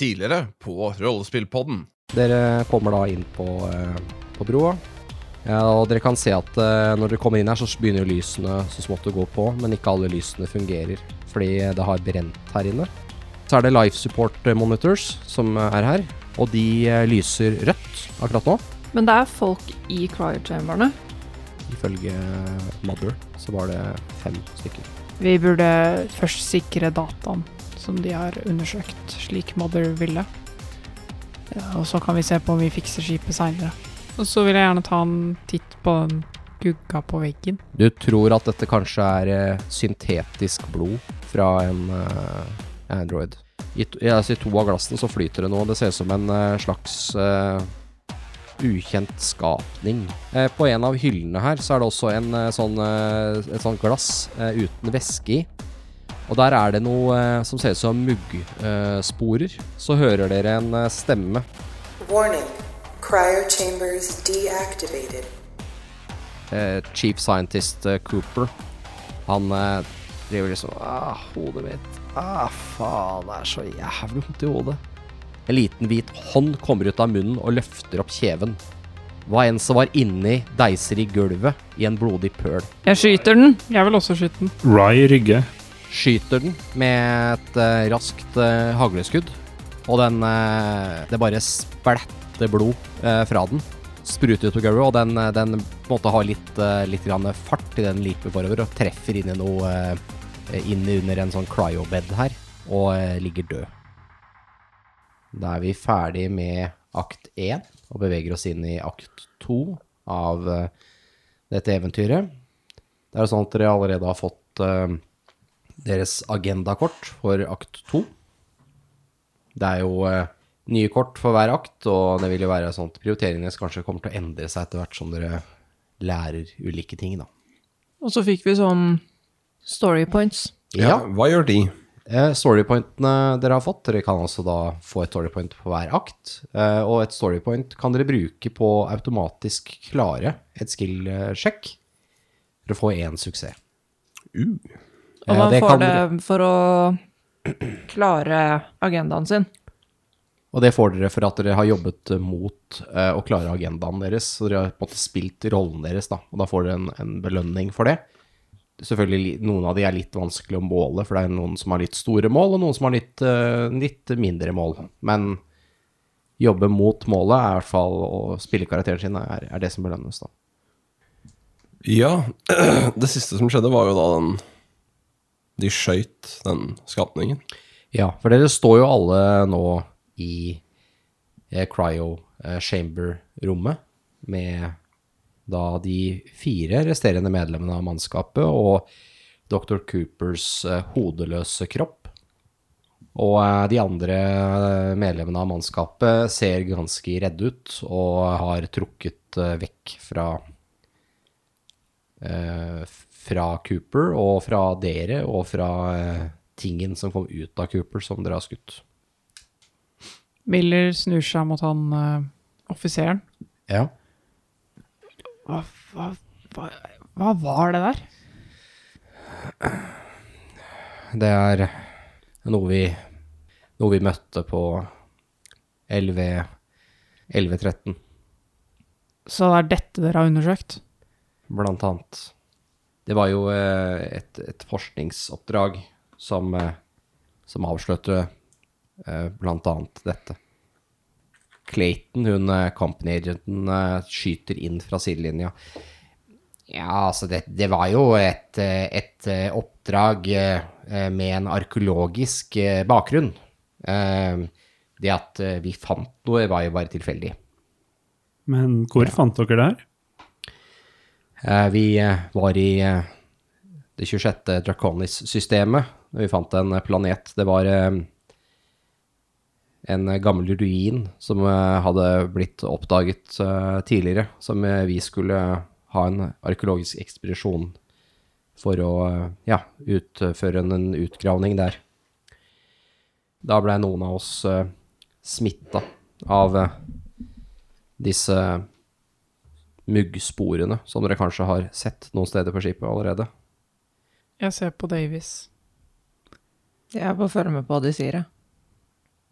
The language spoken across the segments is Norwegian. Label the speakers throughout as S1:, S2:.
S1: tidligere på Rollespillpodden.
S2: Dere kommer da inn på, eh, på broa. Ja, og dere kan se at eh, når dere kommer inn her, så begynner jo lysene så smått å gå på, men ikke alle lysene fungerer fordi det har brent her inne. Så er det life support eh, monitors som eh, er her, og de eh, lyser rødt akkurat nå.
S3: Men det er folk i cryo-chamberne.
S2: Ifølge eh, Mother så var det fem stykker.
S4: Vi burde først sikre dataen som de har undersøkt, slik Mother ville. Ja, Og så kan vi se på om vi fikser skipet seinere. Og så vil jeg gjerne ta en titt på den gugga på veggen.
S2: Du tror at dette kanskje er eh, syntetisk blod fra en eh, android. I, to, ja, altså I to av glassene så flyter det noe. Det ser ut som en eh, slags eh, ukjent skapning. Eh, på en av hyllene her så er det også en, eh, sånn, eh, et sånt glass eh, uten væske i. Og der er det noe eh, som ser ut som muggsporer. så hører dere en eh, stemme.
S5: Warning. Cryo chambers deactivated.
S2: eh, chief scientist eh, Cooper. Han eh, driver liksom ah, Hodet mitt. Ah, faen, det er så jævlig vondt i hodet. En liten hvit hånd kommer ut av munnen og løfter opp kjeven. Hva enn som var inni, deiser i gulvet i en blodig pøl.
S3: Jeg skyter den.
S4: Jeg vil også skyte den.
S6: Rai Rygge.
S2: Skyter den med et eh, raskt eh, hagleskudd, og den eh, Det bare splatter blod eh, fra den. Spruter ut på gulvet, og den, eh, den på en måte har litt, eh, litt grann fart til den liper forover og treffer inn i noe eh, Inn under en sånn cryobed her, og eh, ligger død. Da er vi ferdig med akt én og beveger oss inn i akt to av eh, dette eventyret. Det er jo sånn at dere allerede har fått eh, deres agendakort for akt 2. Det er jo eh, nye kort for hver akt, og det vil jo være sånn at prioriteringene kanskje kommer til å endre seg etter hvert som dere lærer ulike ting, da.
S3: Og så fikk vi sånn story points.
S2: Ja.
S1: Hva gjør de?
S2: Eh, Storypointene dere har fått, dere kan altså da få et storypoint på hver akt, eh, og et storypoint kan dere bruke på automatisk klare et skill-sjekk for å få én suksess.
S3: Og
S2: Eh,
S3: man
S2: det
S3: får
S2: kan
S3: det
S2: dere-
S3: for å klare agendaen sin.
S2: Og det får dere for at dere har jobbet mot eh, å klare agendaen deres. Så dere har på en måte spilt rollen deres, da. Og da får dere en, en belønning for det. Selvfølgelig, li- noen av de er litt vanskelig å måle, for det er noen som har litt store mål, og noen som har litt, eh, litt mindre mål. Men jobbe mot målet er i hvert fall å spille karakteren sin, er, er det som belønnes, da.
S1: Ja, det siste som skjedde, var jo da den De skøyt den skapningen.
S2: Ja, for dere står jo alle nå i eh, cryo eh, chamber-rommet med da de fire resterende medlemmene av mannskapet og Dr. Coopers eh, hodeløse kropp. Og eh, de andre eh, medlemmene av mannskapet ser ganske redde ut og har trukket eh, vekk fra eh, fra Cooper og fra dere og fra eh, tingen som kom ut av Cooper som dere har skutt.
S4: Miller snur seg mot han eh, offiseren.
S2: Ja.
S4: Hva, hva, hva, hva var det der?
S2: Det er noe vi, noe vi møtte på 11 11.13,
S4: Så det er dette dere har undersøkt?
S2: blant annet. Det var jo eh, et, et forskningsoppdrag som, eh, som avslørte eh, blant annet dette. Clayton, hun eh, company agenten, eh, skyter inn fra sidelinja. Ja, altså, det, det var jo et, eh, et eh, oppdrag eh, eh, med en arkeologisk eh, bakgrunn. Eh, Det at eh, vi fant noe, var jo bare tilfeldig.
S6: Men hvor fant dere det her?
S2: Eh, Vi eh, var i eh, det 26. Draconis-systemet. da Vi fant en planet. Det var eh, en gammel ruin som eh, hadde blitt oppdaget eh, tidligere, som eh, vi skulle ha en arkeologisk ekspedisjon for å eh, ja, utføre en- en utgravning der. Da ble noen av oss eh, smitta av eh, disse muggsporene som dere kanskje har sett noen steder på skipet allerede.
S4: Jeg ser på Davies.
S3: Jeg bare følger med på hva de sier, jeg.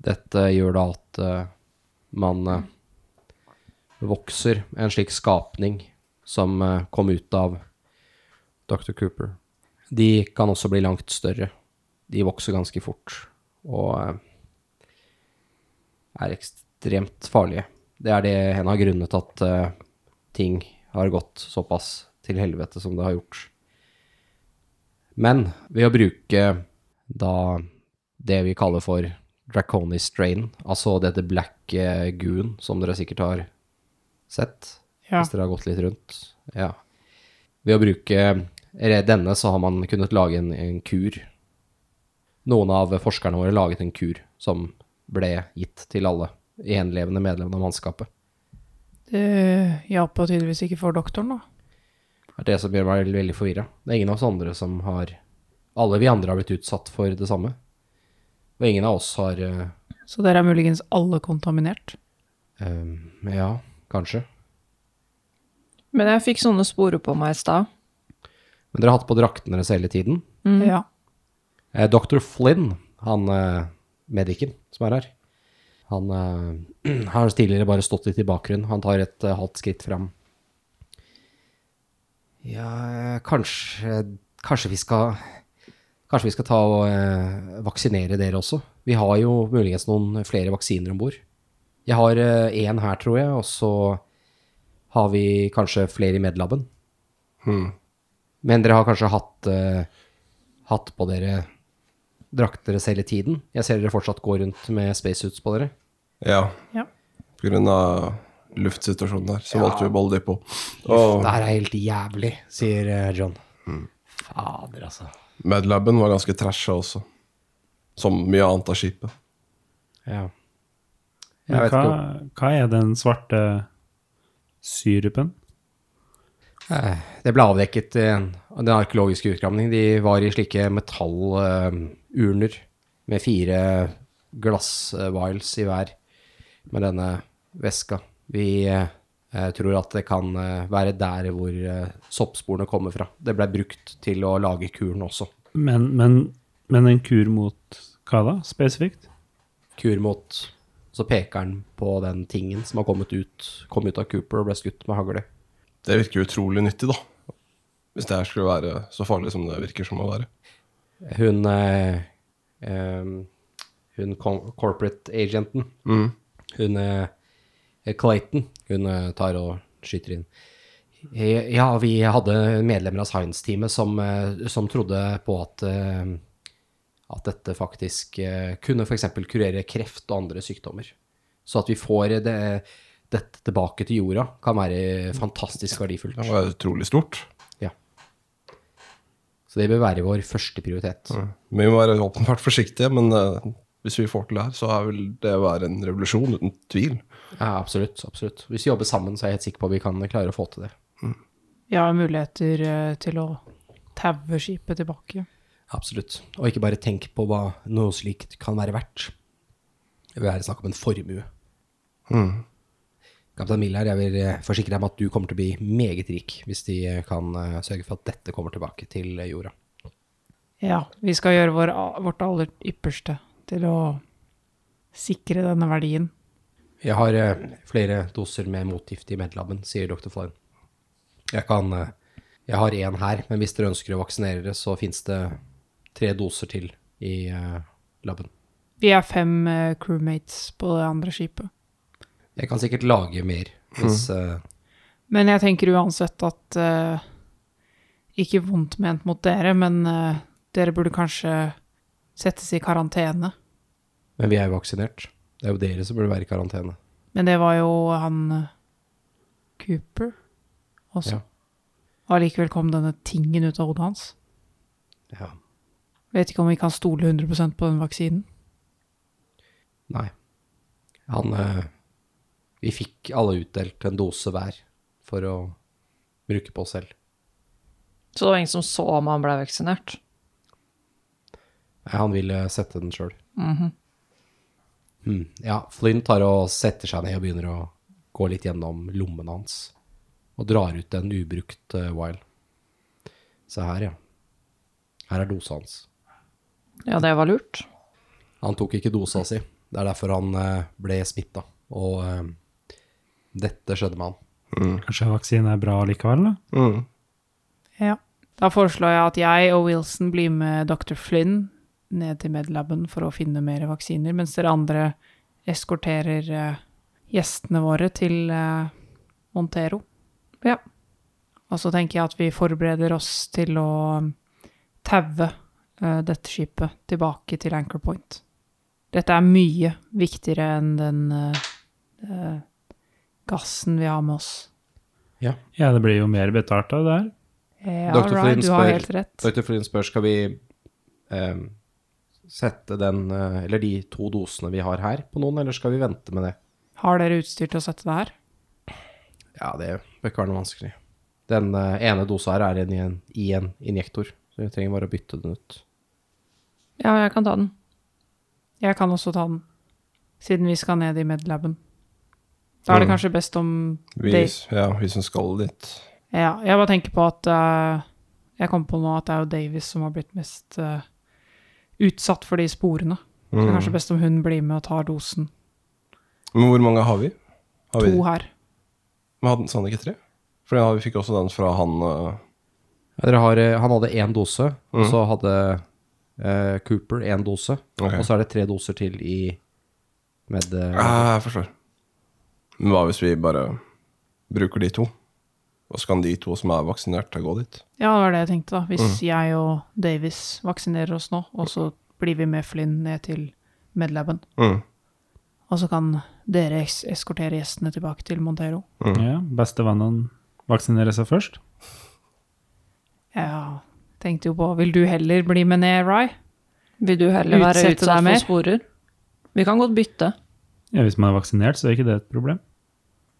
S2: Dette gjør da at eh, man eh, vokser en slik skapning som eh, kom ut av Dr. Cooper. De kan også bli langt større. De vokser ganske fort og eh, er ekstremt farlige. Det er det en av grunnene til at eh, ting har gått såpass til helvete som det har gjort. Men ved å bruke da det vi kaller for Draconis strain, altså dette black eh, goon som dere sikkert har sett,
S4: Ja.
S2: hvis dere har gått litt rundt. Ja. Ved å bruke re- denne så har man kunnet lage en, en kur. Noen av forskerne våre laget en kur som ble gitt til alle gjenlevende medlemmene av mannskapet.
S4: Det hjalp jo tydeligvis ikke for doktoren, da.
S2: Det er det som gjør meg veldig, veldig forvirra. Det er ingen av oss andre som har Alle vi andre har blitt utsatt for det samme. Og ingen av oss har eh,
S4: Så dere er muligens alle kontaminert.
S2: eh, Ja, kanskje.
S3: Men jeg fikk sånne sporer på meg i stad.
S2: Men dere har hatt på drakten deres hele tiden.
S4: Ja.
S2: Eh, Dr. Flynn, han eh, mediken som er her, han eh, har tidligere bare stått litt i bakgrunnen. Han tar et eh, halvt skritt fram. Ja, eh, kanskje, kanskje vi skal Kanskje vi skal ta og eh, vaksinere dere også. Vi har jo muligens noen flere vaksiner om bord. Jeg har én her, tror jeg, og så har vi kanskje flere i medlaben. Men dere har kanskje hatt eh, hatt på dere drakter deres hele tiden. Jeg ser dere fortsatt går rundt med spacesuits på dere.
S1: Ja.
S4: Ja.
S1: På grunn av luftsituasjonen der, så valgte vi å beholde de på. Og
S2: Det her er helt jævlig, sier eh, John. Fader, altså.
S1: Medlaben var ganske trasha også. Som mye annet av skipet.
S2: Ja. Jeg
S6: Men
S2: vet
S6: hva,
S2: ikke.
S6: hva er den svarte syrupen?
S2: Eh, Det ble avdekket i en- den arkeologiske utgravning. De var i slike metallurner eh, med fire glassviles i hver med denne veska. Vi eh, eh, tror at det kan eh, være der hvor eh, soppsporene kommer fra. Det ble brukt til å lage kuren også.
S6: Men, men, men en kur mot hva da, spesifikt?
S2: kur mot Så peker han på den tingen som har kommet ut, kom ut av Cooper og ble skutt med hagle.
S1: Det virker utrolig nyttig, da. Hvis det her skulle være så farlig som det virker som å være.
S2: Hun eh, eh, Hun com- corporate agenten, hun eh, Clayton, hun eh, tar og skyter inn. Eh, Ja, vi hadde medlemmer av science-teamet som, eh, som trodde på at eh, at dette faktisk eh, kunne f.eks. kurere kreft og andre sykdommer. Så at vi får det, dette tilbake til jorda, kan være fantastisk verdifullt.
S1: Det var utrolig stort.
S2: Ja. Så det bør være vår første prioritet.
S1: Men Vi må være åpenbart forsiktige, men eh, hvis vi får til det her, så vil det være en revolusjon, uten tvil.
S2: Ja, absolutt, absolutt. Hvis vi jobber sammen, så er jeg helt sikker på at vi kan klare å få til det.
S4: Vi har muligheter eh, til å taue skipet tilbake.
S2: Absolutt. Og ikke bare tenk på hva noe slikt kan være verdt. Det vil være snakk om en formue. Mm. Kaptein Miller, jeg vil eh, forsikre deg om at du kommer til å bli meget rik hvis de eh, kan eh, sørge for at dette kommer tilbake til eh, jorda.
S4: Ja, vi skal gjøre vår, vårt aller ypperste til å sikre denne verdien.
S2: Jeg har eh, flere doser med motgift i medlaben, sier dr. Flynn. Jeg kan eh, Jeg har én her, men hvis dere ønsker å vaksinere dere, så fins det tre doser til i eh, laben.
S4: Vi er fem eh, crewmates på det andre skipet.
S2: Jeg kan sikkert lage mer hvis eh,
S4: Men jeg tenker uansett at eh, Ikke vondt ment mot dere, men eh, dere burde kanskje settes i karantene.
S2: Men vi er jo vaksinert. Det er jo dere som burde være i karantene.
S4: Men det var jo han eh, Cooper også.
S2: Ja.
S4: Og allikevel kom denne tingen ut av hodet hans.
S2: Ja.
S4: Vet ikke om vi kan stole 100 på den vaksinen.
S2: Nei. Han eh, Vi fikk alle utdelt en dose hver for å bruke på oss selv.
S3: Så det var ingen som så om han ble vaksinert.
S2: Nei, Han ville sette den sjøl. mm, ja, Flynn tar og setter seg ned og begynner å gå litt gjennom lommene hans. Og drar ut en ubrukt uh, while. Se her, ja. Her er dosa hans.
S3: Ja, det var lurt.
S2: Han tok ikke dosa si. Det er derfor han eh, ble smitta, og eh, dette skjedde med han.
S6: Kanskje vaksine er bra likevel, da?
S1: Mm.
S4: Ja. Da foreslår jeg at jeg og Wilson blir med dr. Flynn ned til medlaben for å finne mer vaksiner, mens dere andre eskorterer eh, gjestene våre til eh, Montero.
S3: Ja.
S4: Og så tenker jeg at vi forbereder oss til å um, taue eh, dette skipet tilbake til Anchor Point. Dette er mye viktigere enn den eh, eh, gassen vi har med oss.
S6: Ja, det blir jo mer betalt av det her.
S4: Ja,
S2: Dr. Flynn
S4: Eh, right, du har
S2: spør-
S4: helt rett.
S2: Dr. Flynn spør skal vi eh, sette den, eh, eller de to dosene vi har her på noen, eller skal vi vente med det?
S4: Har dere utstyr til å sette det her?
S2: Ja, det bør ikke være noe vanskelig. Den eh, ene dosa her er en, i en, i en injektor, så vi trenger bare å bytte den ut.
S4: Ja, jeg kan ta den. Jeg kan også ta den, siden vi skal ned i medlaben. Da er det
S1: Mm.
S4: kanskje best om
S1: Vi,
S4: det-
S1: ja, vi som skal dit.
S4: Ja, jeg bare tenker på at eh, Jeg kom på nå at det er jo Davis som har blitt mest eh, utsatt for de sporene. Så det er
S1: Mm.
S4: kanskje best om hun blir med og tar dosen.
S1: Men hvor mange har vi? Har vi
S4: To her.
S1: Men hadde, sa han ikke tre? For vi fikk også den fra han øh,
S2: Ja, Dere har, eh, han hadde én dose, og så hadde eh, Cooper én dose.
S1: Ok.
S2: Og så er det tre doser til i med eh,
S1: ah, Jeg forstår. Men hva hvis vi bare bruker de to? Og så kan de to som er vaksinert, ta gå dit?
S4: Ja, det var det jeg tenkte, da. Hvis
S1: Mm.
S4: jeg og Davis vaksinerer oss nå, og så blir vi med Flynn ned til medlaben.
S1: Mm.
S4: Og så kan dere es eskortere gjestene tilbake til Montero.
S2: Mm.
S6: Ja, Bestevennen vaksinerer seg først.
S4: Ja, tenkte jo på Vil du heller bli med ned, Rai?
S3: Vil du heller være
S4: Utsette deg
S3: utsatt
S4: mer?
S3: for sporer? Vi kan godt bytte.
S6: Ja, Hvis man er vaksinert, så er ikke det et problem.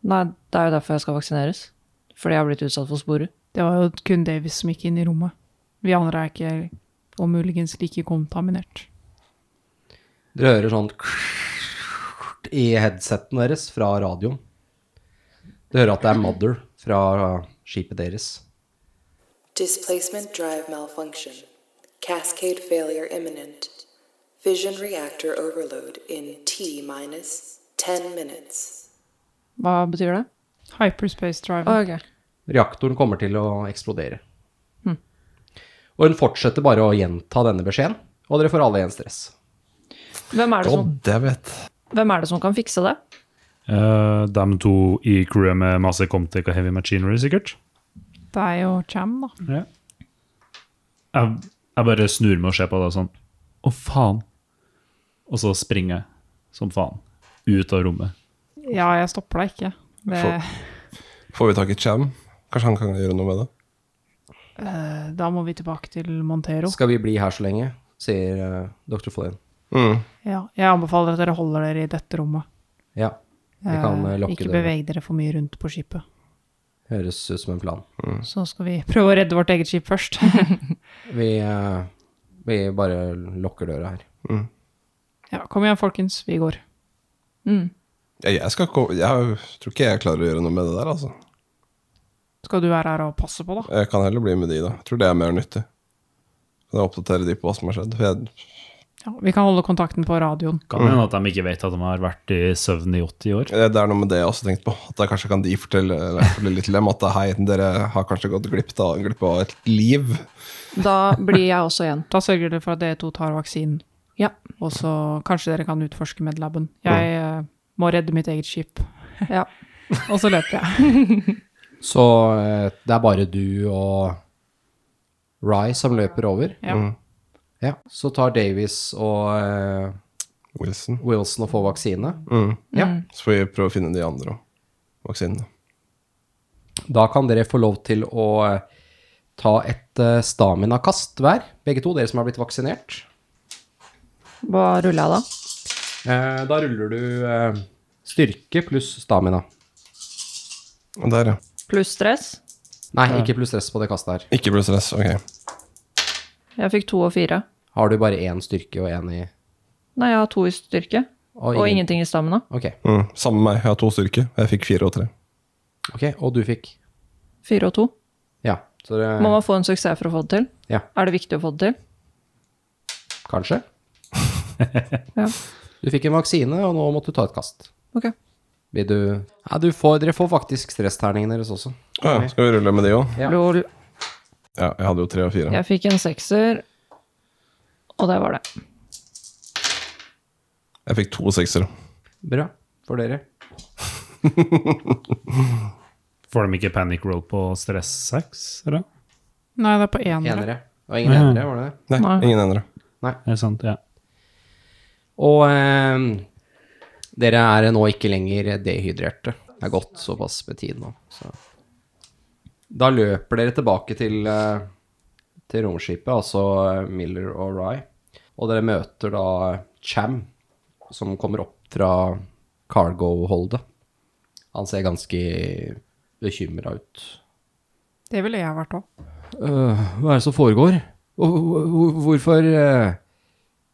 S3: Nei, det er jo derfor jeg skal vaksineres. Fordi jeg har blitt utsatt for sporer.
S4: Det var jo kun Davis som gikk inn i rommet. Vi andre er ikke, og muligens like kontaminert.
S2: Dere hører sånn i headseten deres fra radioen. Dere hører at det er Mother fra skipet deres.
S5: Displacement drive malfunction. Cascade failure imminent. Fission reactor overload in T minus 10 minutes.
S3: Hva betyr det?
S4: Hyperspace drive.
S3: Ok.
S2: Reaktoren kommer til å eksplodere. Og hun fortsetter bare å gjenta denne beskjeden, og dere får alle en stress.
S3: Hvem er, det som,
S1: jeg vet.
S3: hvem er det som kan fikse det?
S6: Eh, de to i crewet med masse Comtec og heavy machinery, sikkert.
S4: Det er jo Cham, da.
S6: Ja. Jeg, jeg bare snur meg og ser på det og sånn Å, faen! Og så springer jeg som faen ut av rommet.
S4: Ja, jeg stopper deg ikke. Det,
S1: Får vi tak i Cham? Kanskje han kan gjøre noe med det?
S4: eh, da må vi tilbake til Montero.
S2: Skal vi bli her så lenge? sier eh, dr. Flynn.
S1: Mm.
S4: Ja, jeg anbefaler at dere holder dere i dette rommet.
S2: Ja, vi kan eh,
S4: Eh,
S2: lokke
S4: ikke
S2: det.
S4: beveg dere for mye rundt på skipet.
S2: Høres ut som en plan.
S4: Så skal vi prøve å redde vårt eget skip først.
S2: Vi, eh, vi bare lukker døra her.
S4: ja, kom igjen, folkens. Vi går.
S1: Jeg, jeg, skal, ko- jeg tror ikke jeg klarer å gjøre noe med det der, altså.
S4: Skal du være her og passe på, da?
S1: Jeg kan heller bli med de, da. Jeg tror det er mer nyttig. Kan jeg oppdatere de på hva som har skjedd? For jeg,
S4: Ja, vi kan holde kontakten på radioen.
S6: Kan hende at de ikke vet at de har vært i søvn i 80 år.
S1: det er noe med det jeg også tenkte på. At jeg kanskje kan de fortelle, eller fortelle litt til dem at hei, dere har kanskje gått glipp av, glipp av et liv.
S3: Da blir jeg også igjen.
S4: Da sørger dere for at dere to tar vaksinen.
S3: Ja.
S4: Og så kanskje dere kan utforske med laben. Jeg eh, må redde mitt eget skip.
S3: Ja.
S4: Og så løper jeg.
S2: Så eh, det er bare du og Rye som løper over?
S4: Ja.
S2: Ja. Så tar Davies og eh,
S1: Wilson.
S2: Wilson og får vaksine. Ja.
S1: Så får vi prøve å finne de andre også. vaksinene.
S2: Da kan dere få lov til å eh, ta et eh, stamina-kast hver, begge to, dere som har blitt vaksinert.
S3: Hva ruller jeg da?
S2: Eh, da ruller du eh, styrke pluss stamina.
S1: Og der, ja.
S3: Pluss stress.
S2: Nei, ikke pluss stress på det kastet her.
S1: Ikke bli stress. Ok.
S3: Jeg fikk to og fire.
S2: Har du bare én styrke og én i
S3: Nei, jeg har to i styrke.
S2: Og
S3: Og
S2: ingen-
S3: ingenting i stamina.
S2: Ok.
S1: Mm. Samme med meg. Jeg har to styrke. og Jeg fikk fire og tre.
S2: ok, Og du fikk
S3: Fire og to.
S2: Ja. Så det
S3: Må man få en suksess for å få det til?
S2: Ja,
S3: Er det viktig å få det til?
S2: kanskje?
S3: Ja.
S2: Du fikk en vaksine, og nå måtte du ta et kast.
S3: Ok.
S2: Vil du Ja, du får, dere får faktisk stressterningene deres også.
S1: Ja, ja. Skal vi rulle med de òg?
S2: Ja.
S3: Lol.
S1: Ja, jeg hadde jo tre og fire.
S3: Jeg fikk en sekser, og der var det.
S1: Jeg fikk to seksere.
S2: Bra for dere.
S6: Får de ikke panic roll på stress 6, eller?
S4: Nei, det er på enere.
S2: Enere. Det var ingen enere, var det det?
S1: Nei,
S4: Nei.
S1: ingen enere.
S6: Er det sant? Ja.
S2: Og ehm, dere er nå ikke lenger dehydrerte. Det er gått såpass med tid nå. Så. Da løper dere tilbake til, eh, til romskipet, altså eh, Miller og Rye. Og dere møter da eh, Cham, som kommer opp fra cargo-holdet. Han ser ganske bekymra ut.
S4: Det ville jeg vært òg.
S2: Øh, hva er det som foregår? Og hvor- hvor- Hvorfor eh,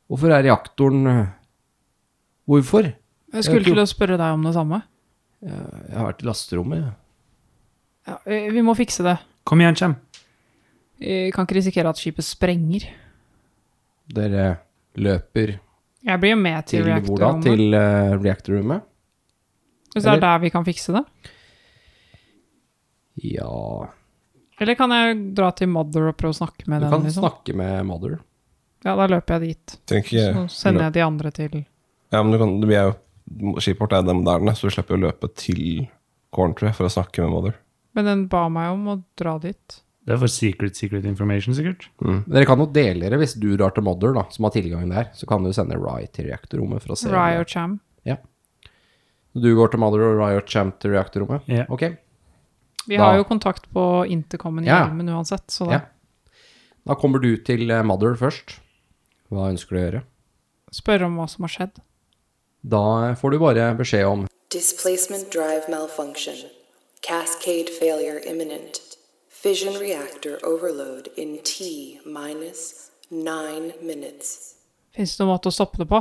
S2: Hvorfor er reaktoren eh, Hvorfor?
S4: Jeg skulle
S2: Jeg tror-
S4: til å spørre deg om det samme.
S2: Jeg har vært i lasterommet.
S4: Ja, eh, vi må fikse det.
S6: Kom igjen, Kjem.
S4: Vi kan ikke risikere at skipet sprenger.
S2: Dere løper
S4: Jeg blir jo med til,
S2: til hvor da?
S4: reaktorrommet.
S2: Til eh, reaktorrommet?
S4: Hvis det
S2: eller-
S4: er der vi kan fikse det.
S2: Ja
S4: Eller kan jeg dra til Mother og prøve å snakke med
S2: Du
S4: den?
S2: kan
S4: Liksom?
S2: snakke med Mother.
S4: Ja, da løper jeg dit.
S1: Trenger ikke
S4: Så sender jeg de andre til
S1: Ja, men du kan, vi er jo Skipet vårt er dem der nede, så du slipper å løpe til Corntree for å snakke med Mother.
S4: Men den ba meg om å dra dit.
S6: Det er for secret, secret information, sikkert.
S2: Mm. Dere kan jo dele dere hvis du drar til Mother, da, som har tilgangen der. Så kan du sende Rye til reaktorrommet for å se. om
S4: Rye
S2: det-
S4: og Cham.
S2: Ja. Du går til Mother og Rye og Champ til reaktorrommet?
S6: Ja.
S2: Ok.
S4: Vi
S2: Da-
S4: har jo kontakt på intercomen i
S2: Ja.
S4: hjelmen uansett, så da
S2: Ja. Da kommer du til eh, Mother først. Hva ønsker du å gjøre?
S4: spør om hva som har skjedd.
S2: Da får du bare beskjed om
S5: Displacement drive malfunction. Cascade failure imminent. Fission reactor overload in T minus 9 minutes.
S4: Fins det noen måte å stoppe det på?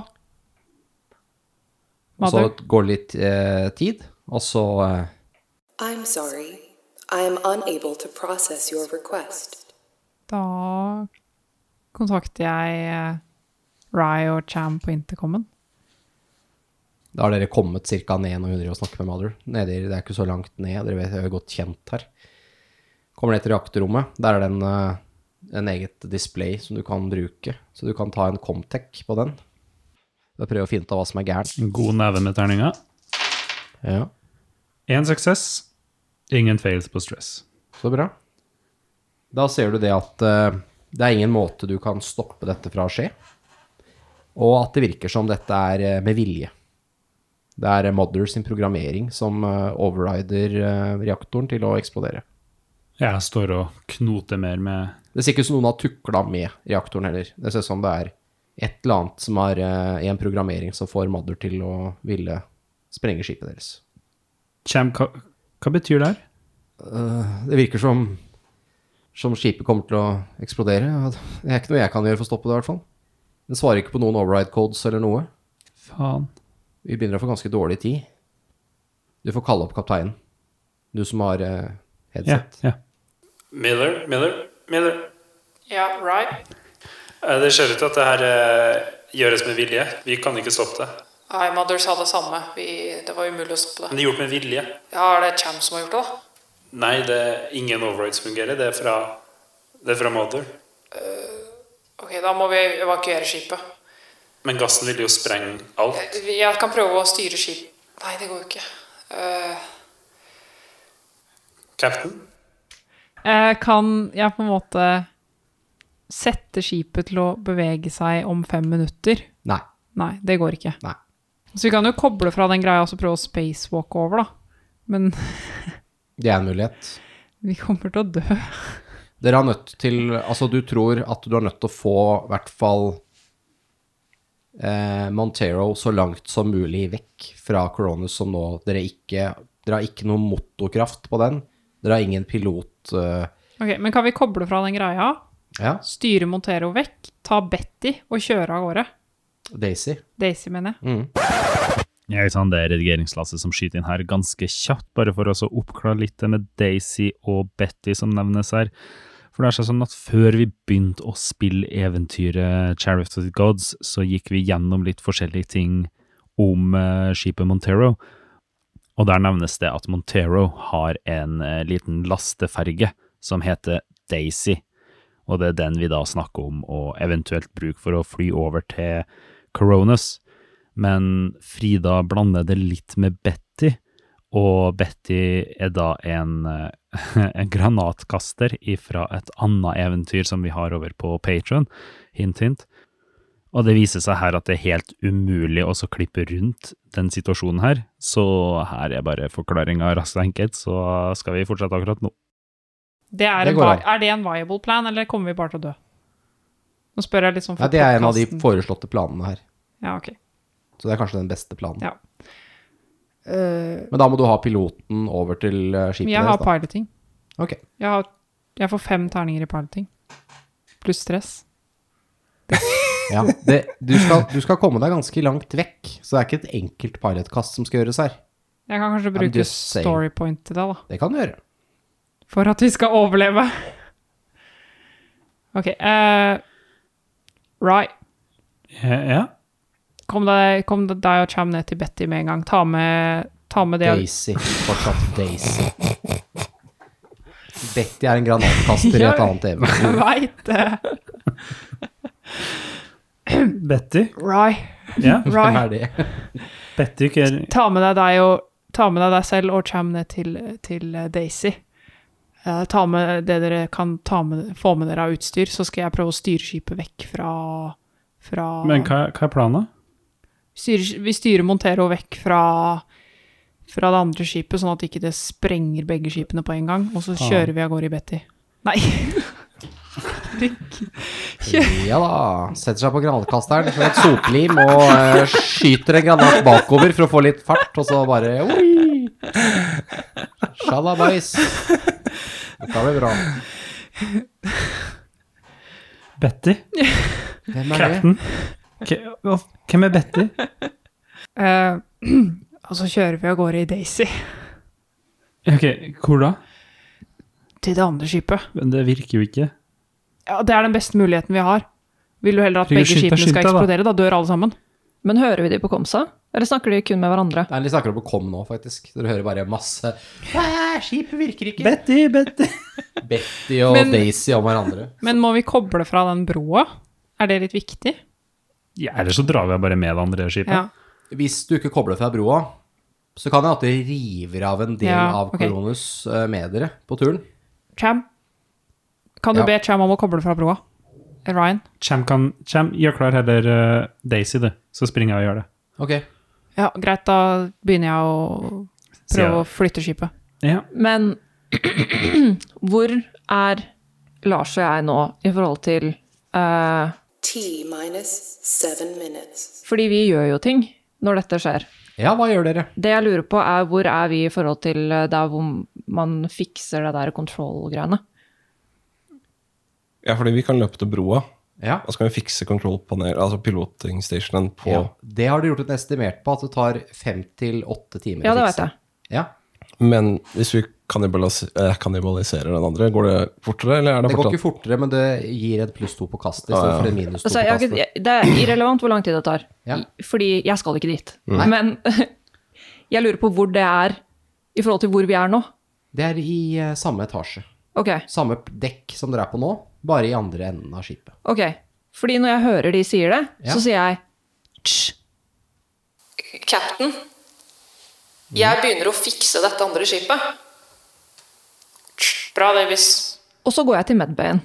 S2: Og så
S4: Mother?
S2: går litt eh, tid, og så eh,
S5: I'm sorry. I am unable to process your request.
S4: Da kontakter jeg eh, Rye og Cham på intercomen.
S2: Da har dere kommet ca. ned når hun driver og snakker med Mother. Nede, i- det er ikke så langt ned, dere vet, dere er jo godt kjent her. Kommer ned til reaktorrommet. Der er det en, eh, en eget display som du kan bruke. Så du kan ta en Comtec på den. Og prøve å finne ut av hva som er gærent.
S6: En god neve med terninga.
S2: Ja,
S6: Én suksess, ingen fails på stress.
S2: så bra. Da ser du det at eh, det er ingen måte du kan stoppe dette fra å skje. Og at det virker som dette er eh, med vilje. Det er eh, Mother sin programmering som eh, overrider eh, reaktoren til å eksplodere.
S6: Jeg står og knoter mer med
S2: Det ser ikke ut som noen har tukla med reaktoren heller. Det ser ut som det er et eller annet som er eh, i en programmering som får Mother til å ville sprenge skipet deres.
S6: Kjem, hva, hva betyr det her?
S2: Det virker som, som skipet kommer til å eksplodere. Det er ikke noe jeg kan gjøre for å stoppe det, i hvert fall. Den svarer ikke på noen override codes eller noe.
S6: Faen.
S2: Vi begynner å få ganske dårlig tid. Du får kalle opp kapteinen. Du som har eh,
S6: Ja,
S2: headset.
S6: ja.
S7: Miller, Miller, Miller.
S4: Ja, Rye?
S7: Eh, Det ser ut til at det her eh, gjøres med vilje. Vi kan ikke stoppe det.
S4: Nei, Mother sa det samme. det var umulig å stoppe
S7: Men det er gjort med vilje.
S4: Ja, er det Cham som har gjort det, da?
S7: Nei, det er ingen overrides fungerer. Det er fra, det er fra Mother.
S4: Ok, da må vi evakuere skipet.
S7: Men gassen vil jo sprenge alt.
S4: Jeg kan prøve å styre skip. Nei, det går jo ikke. Eh.
S7: Captain?
S4: Eh, kan jeg på en måte sette skipet til å bevege seg om fem minutter?
S2: Nei.
S4: Nei, det går ikke.
S2: Nei.
S4: Så vi kan jo koble fra den greia og så prøve å spacewalk over, da. Men
S2: Det er en mulighet.
S4: vi kommer til å dø.
S2: Dere er nødt til Altså, du tror at du er nødt til å få i hvert fall eh, Montero så langt som mulig vekk fra Coronas som nå. Dere, ikke, dere har ikke noe motorkraft på den. Dere har ingen pilot eh,
S4: Ok, Men kan vi koble fra den greia,
S2: Ja,
S4: styre Montero vekk, ta Betty og kjøre av gårde?
S2: Daisy.
S4: Daisy, mener jeg.
S6: Jeg tar det redigeringslasset som skyter inn her ganske kjapt, bare for å så oppklare litt det med Daisy og Betty som nevnes her. For det er sånn at før vi begynte å spille eventyret Chariot of the Gods, så gikk vi gjennom litt forskjellige ting om eh, skipet Montero. Og der nevnes det at Montero har en eh, liten lasteferge som heter Daisy. Og det er den vi da snakker om, og eventuelt bruk for å fly over til Coronas. Men Frida blander det litt med Betty, og Betty er da en, eh, en granatkaster fra et annet eventyr som vi har over på Patron. Hint, hint. Og det viser seg her at det er helt umulig å så klippe rundt den situasjonen her, så her er bare forklaringa raskt og enkelt, så skal vi fortsette akkurat nå.
S4: Det er,
S2: Det
S4: en
S2: går
S4: vi- er det en viable plan, eller kommer vi bare til å dø? Nå spør jeg litt sånn for
S2: Nei, det er en av de
S4: podcasten.
S2: foreslåtte planene her.
S4: Ja, ok.
S2: Så det er kanskje den beste planen.
S4: Ja. Eh,
S2: Men da må du ha piloten over til eh,
S4: men
S2: skipet
S4: jeg har
S2: deres, da.
S4: piloting.
S2: Ok.
S4: Jeg, har, jeg får fem terninger i piloting. Pluss stress.
S2: Ja. Det, du, skal, du skal komme deg ganske langt vekk, så det er ikke et enkelt pilotkast som skal gjøres her.
S4: Jeg kan kanskje
S2: I'm
S4: bruke
S2: just saying.
S4: story point til det, da.
S2: Det kan du gjøre.
S4: For at vi skal overleve. OK. eh, right.
S6: Ja,
S4: Kom deg, kom deg og Cham ned til Betty med en gang. Ta med, ta med det
S2: Daisy. Fortsatt Daisy. Betty er en granatkaster i
S4: Ja.
S2: et annet eventyr.
S4: Jeg veit det.
S6: Betty?
S4: Right.
S6: Ja,
S2: Hvem
S4: right.
S2: er det?
S6: Betty
S4: Ta med deg deg og Ta med deg deg selv og Cham ned til, til eh, Daisy. Eh, ta med det dere kan ta med, få med dere av utstyr, så skal jeg prøve å styre skipet vekk fra, fra
S6: hva, er planen?
S4: styrer, vi styrer Montero vekk fra, fra det andre skipet, sånn at ikke det sprenger begge skipene på en gang. Og så
S6: Faen.
S4: kjører vi av gårde i Betty. Nei.
S2: Ja da. Setter seg på granatkasteren med et soplim og eh, skyter en granat bakover for å få litt fart, og så bare oi. Shalabais. Dette blir bra.
S6: Betty?
S2: Hvem er det?
S6: Captain? Hvem er Betty?
S4: Eh, og så kjører vi av gårde i Daisy,
S6: Ok, hvor da?
S4: til det andre skipet.
S6: Men det virker jo ikke.
S4: Ja, Det er den beste muligheten vi har. Vil du heller at
S6: Herregud,
S4: begge
S6: skynd deg,
S4: skipene skal
S6: skynd deg, da.
S4: eksplodere? Da dør alle sammen.
S3: Men hører vi de på Komsa? Eller snakker de kun med hverandre?
S2: Nei, de snakker om å komme nå, faktisk. Dere hører bare masse «Æ, Skipet virker ikke.
S6: Betty, Betty!
S2: Betty og
S4: Men-
S2: Daisy om hverandre.
S4: Men må vi koble fra den broa? Er det litt viktig?
S6: Ja, Eller så drar vi bare med det andre skipet.
S4: Ja.
S2: Hvis du ikke kobler fra broa, så kan jeg at dere river av en del
S4: Ja,
S2: av
S4: ok.
S2: Koronus eh, med dere på turen.
S4: Cham, kan du
S2: Ja.
S4: be Cham om å koble fra broa? Ryan?
S6: Cham, kan, Cham gjør klar heller eh, Daisy, du. Så springer jeg og gjør det.
S2: Ok.
S4: Ja, greit, da begynner jeg å
S6: Sier jeg.
S4: prøve å flytte skipet.
S6: Ja.
S3: Men hvor er Lars og jeg nå i forhold til eh,
S5: T minus seven minutes.
S3: Fordi vi gjør jo ting når dette skjer.
S2: Ja, hva gjør dere?
S3: Det jeg lurer på, er hvor er vi i forhold til eh, der hvor man fikser det der control-greiene?
S1: Ja, fordi vi kan løpe til broa,
S2: Ja.
S1: og så kan vi fikse control panel, altså piloting stationen på
S2: ja. Det har du gjort et estimert på at det tar fem til åtte timer
S3: Ja,
S2: å
S3: det vet
S2: fikse.
S3: jeg.
S2: Ja,
S1: Men hvis vi kannibalis eh, kannibaliserer den andre, går det fortere, eller er det,
S2: det går
S1: fortsatt
S2: ikke fortere, men det gir et pluss to på kastet istedenfor en minus to
S3: Altså,
S2: på
S3: jeg, har
S2: kastet.
S3: ikke- jeg, det er irrelevant hvor lang tid det tar,
S2: Ja.
S3: I- fordi jeg skal ikke dit. Men jeg lurer på hvor det er i forhold til hvor vi er nå.
S2: Det er i eh, samme etasje.
S3: Ok,
S2: Samme dekk som dere er på nå, bare i andre enden av skipet.
S3: ok. Fordi når jeg hører de sier det,
S2: Ja.
S3: så sier jeg «Tsj,
S8: Captain, jeg begynner å fikse dette andre skipet. Bra, Davis.
S3: og så går jeg til medbayen.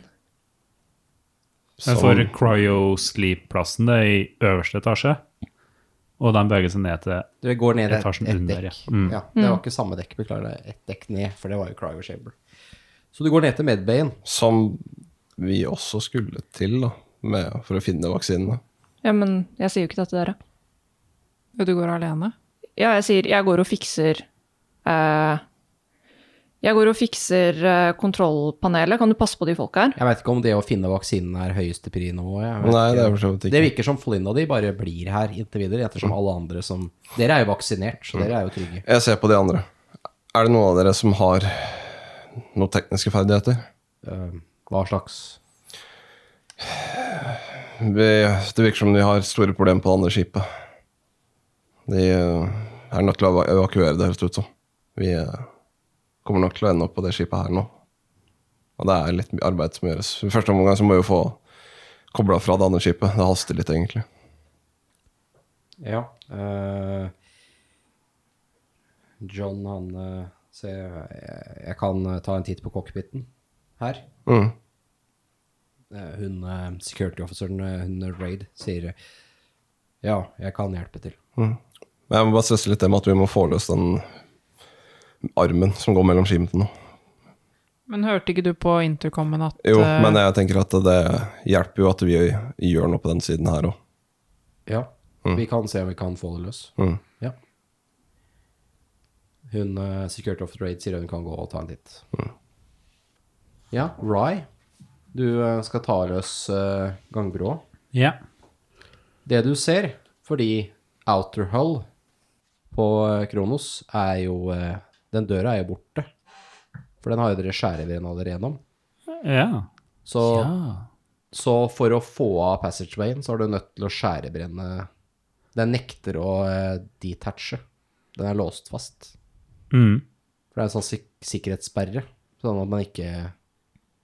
S6: Men for cryo-sleep-plassen det er i øverste etasje, og de beveger seg ned til
S2: Dere går ned et,
S6: Etasjen
S2: et
S6: under,
S2: dekk.
S6: ja. Mm.
S2: Ja, det var ikke samme dekk, beklager. det er Et dekk ned, for det var jo Cryo Chamber. Så du går ned til Medbayen.
S1: Som vi også skulle til, da, med, for å finne vaksinene.
S3: Ja, men jeg sier jo ikke det til dere.
S4: Ja, Du går alene?
S3: Ja, jeg sier jeg går og fikser eh, Jeg går og fikser eh, kontrollpanelet. Kan du passe på de folka her?
S2: Jeg veit ikke om det å finne vaksinen er høyeste pri nå. Jeg vet
S1: Nei,
S2: ikke. Mm.
S1: det er for så vidt
S2: Det
S1: ikke.
S2: virker som Flynn og de bare blir her inntil videre, ettersom alle andre som Dere er jo vaksinert, så dere er jo trygge.
S1: Jeg ser på de andre. Er det noen av dere som har noen tekniske ferdigheter?
S2: Eh, Hva slags
S1: Vi, det virker som de har store problemer på det andre skipet. De eh, er nødt til å evakuere det, høres det ut som. Vi eh, kommer nok til å ende opp på det skipet her nå. Og det er litt mye arbeid som gjøres. I første omgang så må vi jo få kobla fra det andre skipet. Det haster litt, egentlig.
S2: Ja. eh, John, han eh, ser jeg, jeg kan eh, ta en titt på cockpiten her.
S1: Mm.
S2: Eh, hun eh, security officeren, eh, hun Raid, sier eh, ja, jeg kan hjelpe til.
S1: Men Jeg må bare stresse litt det med at vi må få løs den armen som går mellom skipene nå.
S4: Men hørte ikke du på intercomen at
S1: Jo,
S4: eh,
S1: men jeg tenker at det hjelper jo at vi gjør noe på den siden her òg.
S2: Ja, vi kan se om vi kan få det løs.
S1: Mm.
S2: Ja. Hun eh, security officer Raid sier hun kan gå og ta en titt. Ja, Rye, du eh, skal ta løs uh, gangbroa.
S6: Ja.
S2: Det du ser, fordi outer hull på eh, Kronos er jo eh, Den døra er jo borte. For den har jo dere skjæreveien allerede gjennom.
S6: Ja.
S2: Så, så for å få av passagewayen, så er du nødt til å skjærebrenne Den nekter å eh, detache. Den er låst fast.
S6: Mm.
S2: For det er en sånn sik sikkerhetssperre. Sånn at man ikke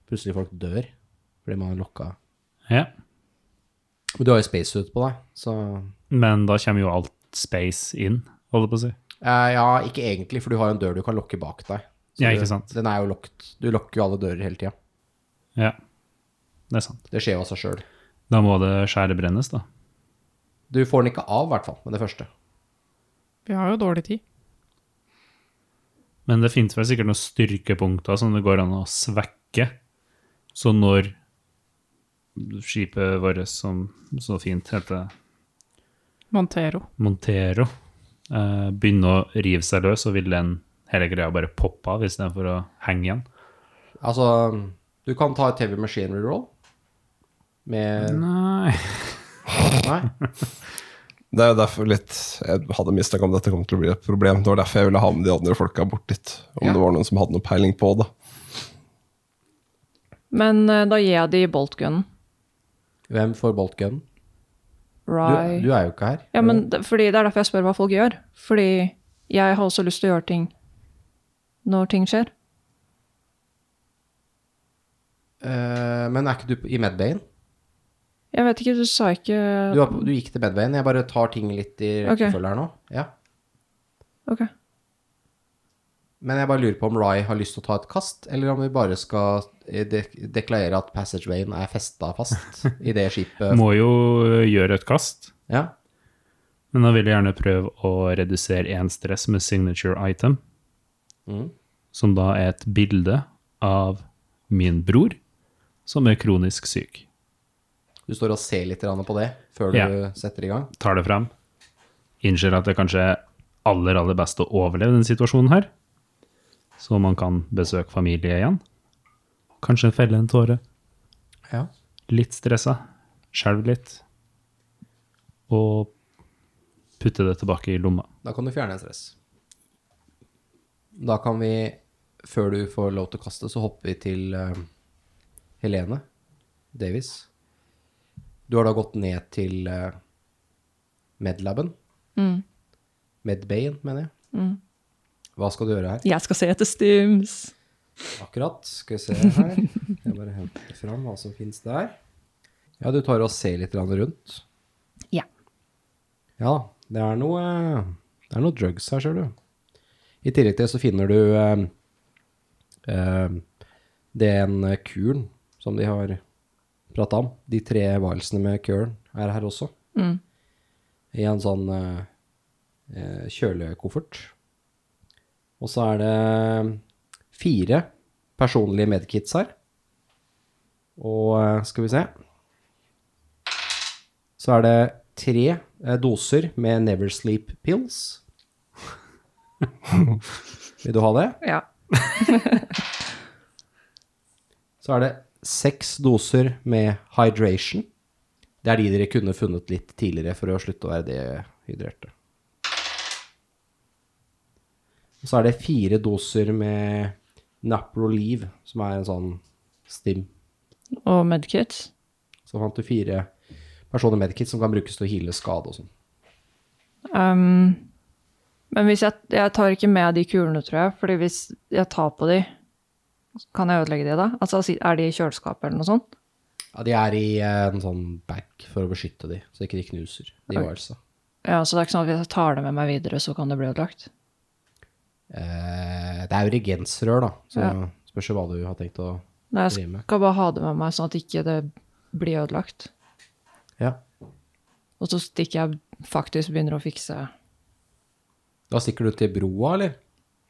S2: Plutselig folk dør fordi man er lokka.
S6: ja.
S2: Men du har jo spacesuit på deg, så
S6: Men da kommer jo alt space inn, holder jeg på å si.
S2: Eh, ja, ikke egentlig, for du har en dør du kan lukke bak deg. Så
S6: Ja,
S2: du-
S6: ikke sant.
S2: Den er jo lukket. Du lukker jo alle dører hele tida.
S6: Ja, det er sant.
S2: Det skjer jo av seg sjøl.
S6: Da må det skjære brennes, da.
S2: Du får den ikke av, i hvert fall, med det første.
S4: Vi har jo dårlig tid.
S6: Men det finnes vel sikkert noen styrkepunkter som det går an å svekke. Så når skipet vårt, som så fint heter
S4: Montero.
S6: Montero, eh, begynner å rive seg løs, så vil den hele greia bare poppe av istedenfor å henge igjen.
S2: Altså, du kan ta et heavy machine reroll med
S6: Nei
S2: Nei?
S1: Det er jo derfor litt Jeg hadde mistanke om dette kom til å bli et problem. Det var derfor jeg ville ha med de andre folka bort dit. Om
S2: Ja.
S1: det var noen som hadde noe peiling på det.
S3: Men eh, da gir jeg de boltgunnen.
S2: Hvem får boltgun? Du,
S3: Rye.
S2: du er jo ikke her.
S3: Ja, men det, fordi det er derfor jeg spør hva folk gjør. Fordi jeg har også lyst til å gjøre ting når ting skjer.
S2: Eh, men er ikke du på- i medbayen?
S3: Jeg vet ikke, du sa ikke
S2: Du, var på- du gikk til medbayen. Jeg bare tar ting litt i
S3: Ok.
S2: rekkefølge her nå. Ja.
S3: Ok.
S2: Men jeg bare lurer på om Rye har lyst til å ta et kast, eller om vi bare skal eh, dek deklarere at passagewayen er festa fast i det skipet.
S6: Må jo gjøre et kast.
S2: Ja.
S6: Men da vil jeg gjerne prøve å redusere én stress med signature item,
S2: Mhm.
S6: som da er et bilde av min bror, som er kronisk syk.
S2: Du står og ser litt grann på det før du
S6: Ja.
S2: setter i gang.
S6: Tar det fram, innser at det kanskje er aller, aller best å overleve denne situasjonen her, så man kan besøke familie igjen. Kanskje felle en tåre.
S2: Ja.
S6: Litt stressa. Skjelv litt. Og putte det tilbake i lomma.
S2: Da kan du fjerne en stress. Da kan vi, før du får lov til å kaste, så hopper vi til eh, Helene Davis. Du har da gått ned til eh, medlaben.
S3: Mm.
S2: Medbayen, mener jeg.
S3: Mm.
S2: Hva skal du gjøre her?
S3: Jeg skal se etter Stims.
S2: Akkurat. Skal vi se her. Jeg bare henter fram hva som finnes der. Ja, du tar og ser litt grann rundt.
S3: Ja.
S2: Ja, det er noe Det er noe drugs her, ser du. I tillegg til så finner du eh, eh, den kuren som de har prata om. De tre hvalsene med kuren er her også.
S3: Mm.
S2: I en sånn eh, eh, kjølekoffert. Og så er det fire personlige medkits her. Og eh, skal vi se Så er det tre eh, doser med Never Sleep Pills. Vil du ha det?
S3: Ja.
S2: Så er det seks doser med hydration. Det er de dere kunne funnet litt tidligere for å slutte å være dehydrerte. Og så er det fire doser med Naproliv, som er en sånn stim
S3: og medkits.
S2: Så fant du fire personer medkit som kan brukes til å heale skade og sånn.
S3: Ehm, men hvis jeg, jeg tar ikke med de kulene, tror jeg, fordi hvis jeg tar på de, kan jeg ødelegge de da? Altså, si- er de i kjøleskapet eller noe sånt?
S2: Ja, de er i eh, en sånn bag for å beskytte de, så ikke de knuser de altså. varelsa.
S3: Ja, så det er ikke sånn at hvis jeg tar det med meg videre, så kan det bli ødelagt?
S2: Eh, det er jo regensrør, da, så spørs jo hva du har tenkt å
S3: Nei,
S2: Driver
S3: jeg
S2: med.
S3: skal bare ha det med meg, sånn at ikke det blir ødelagt.
S2: Ja.
S3: Og så stikker jeg faktisk begynner å fikse
S2: Da stikker du til broa, eller?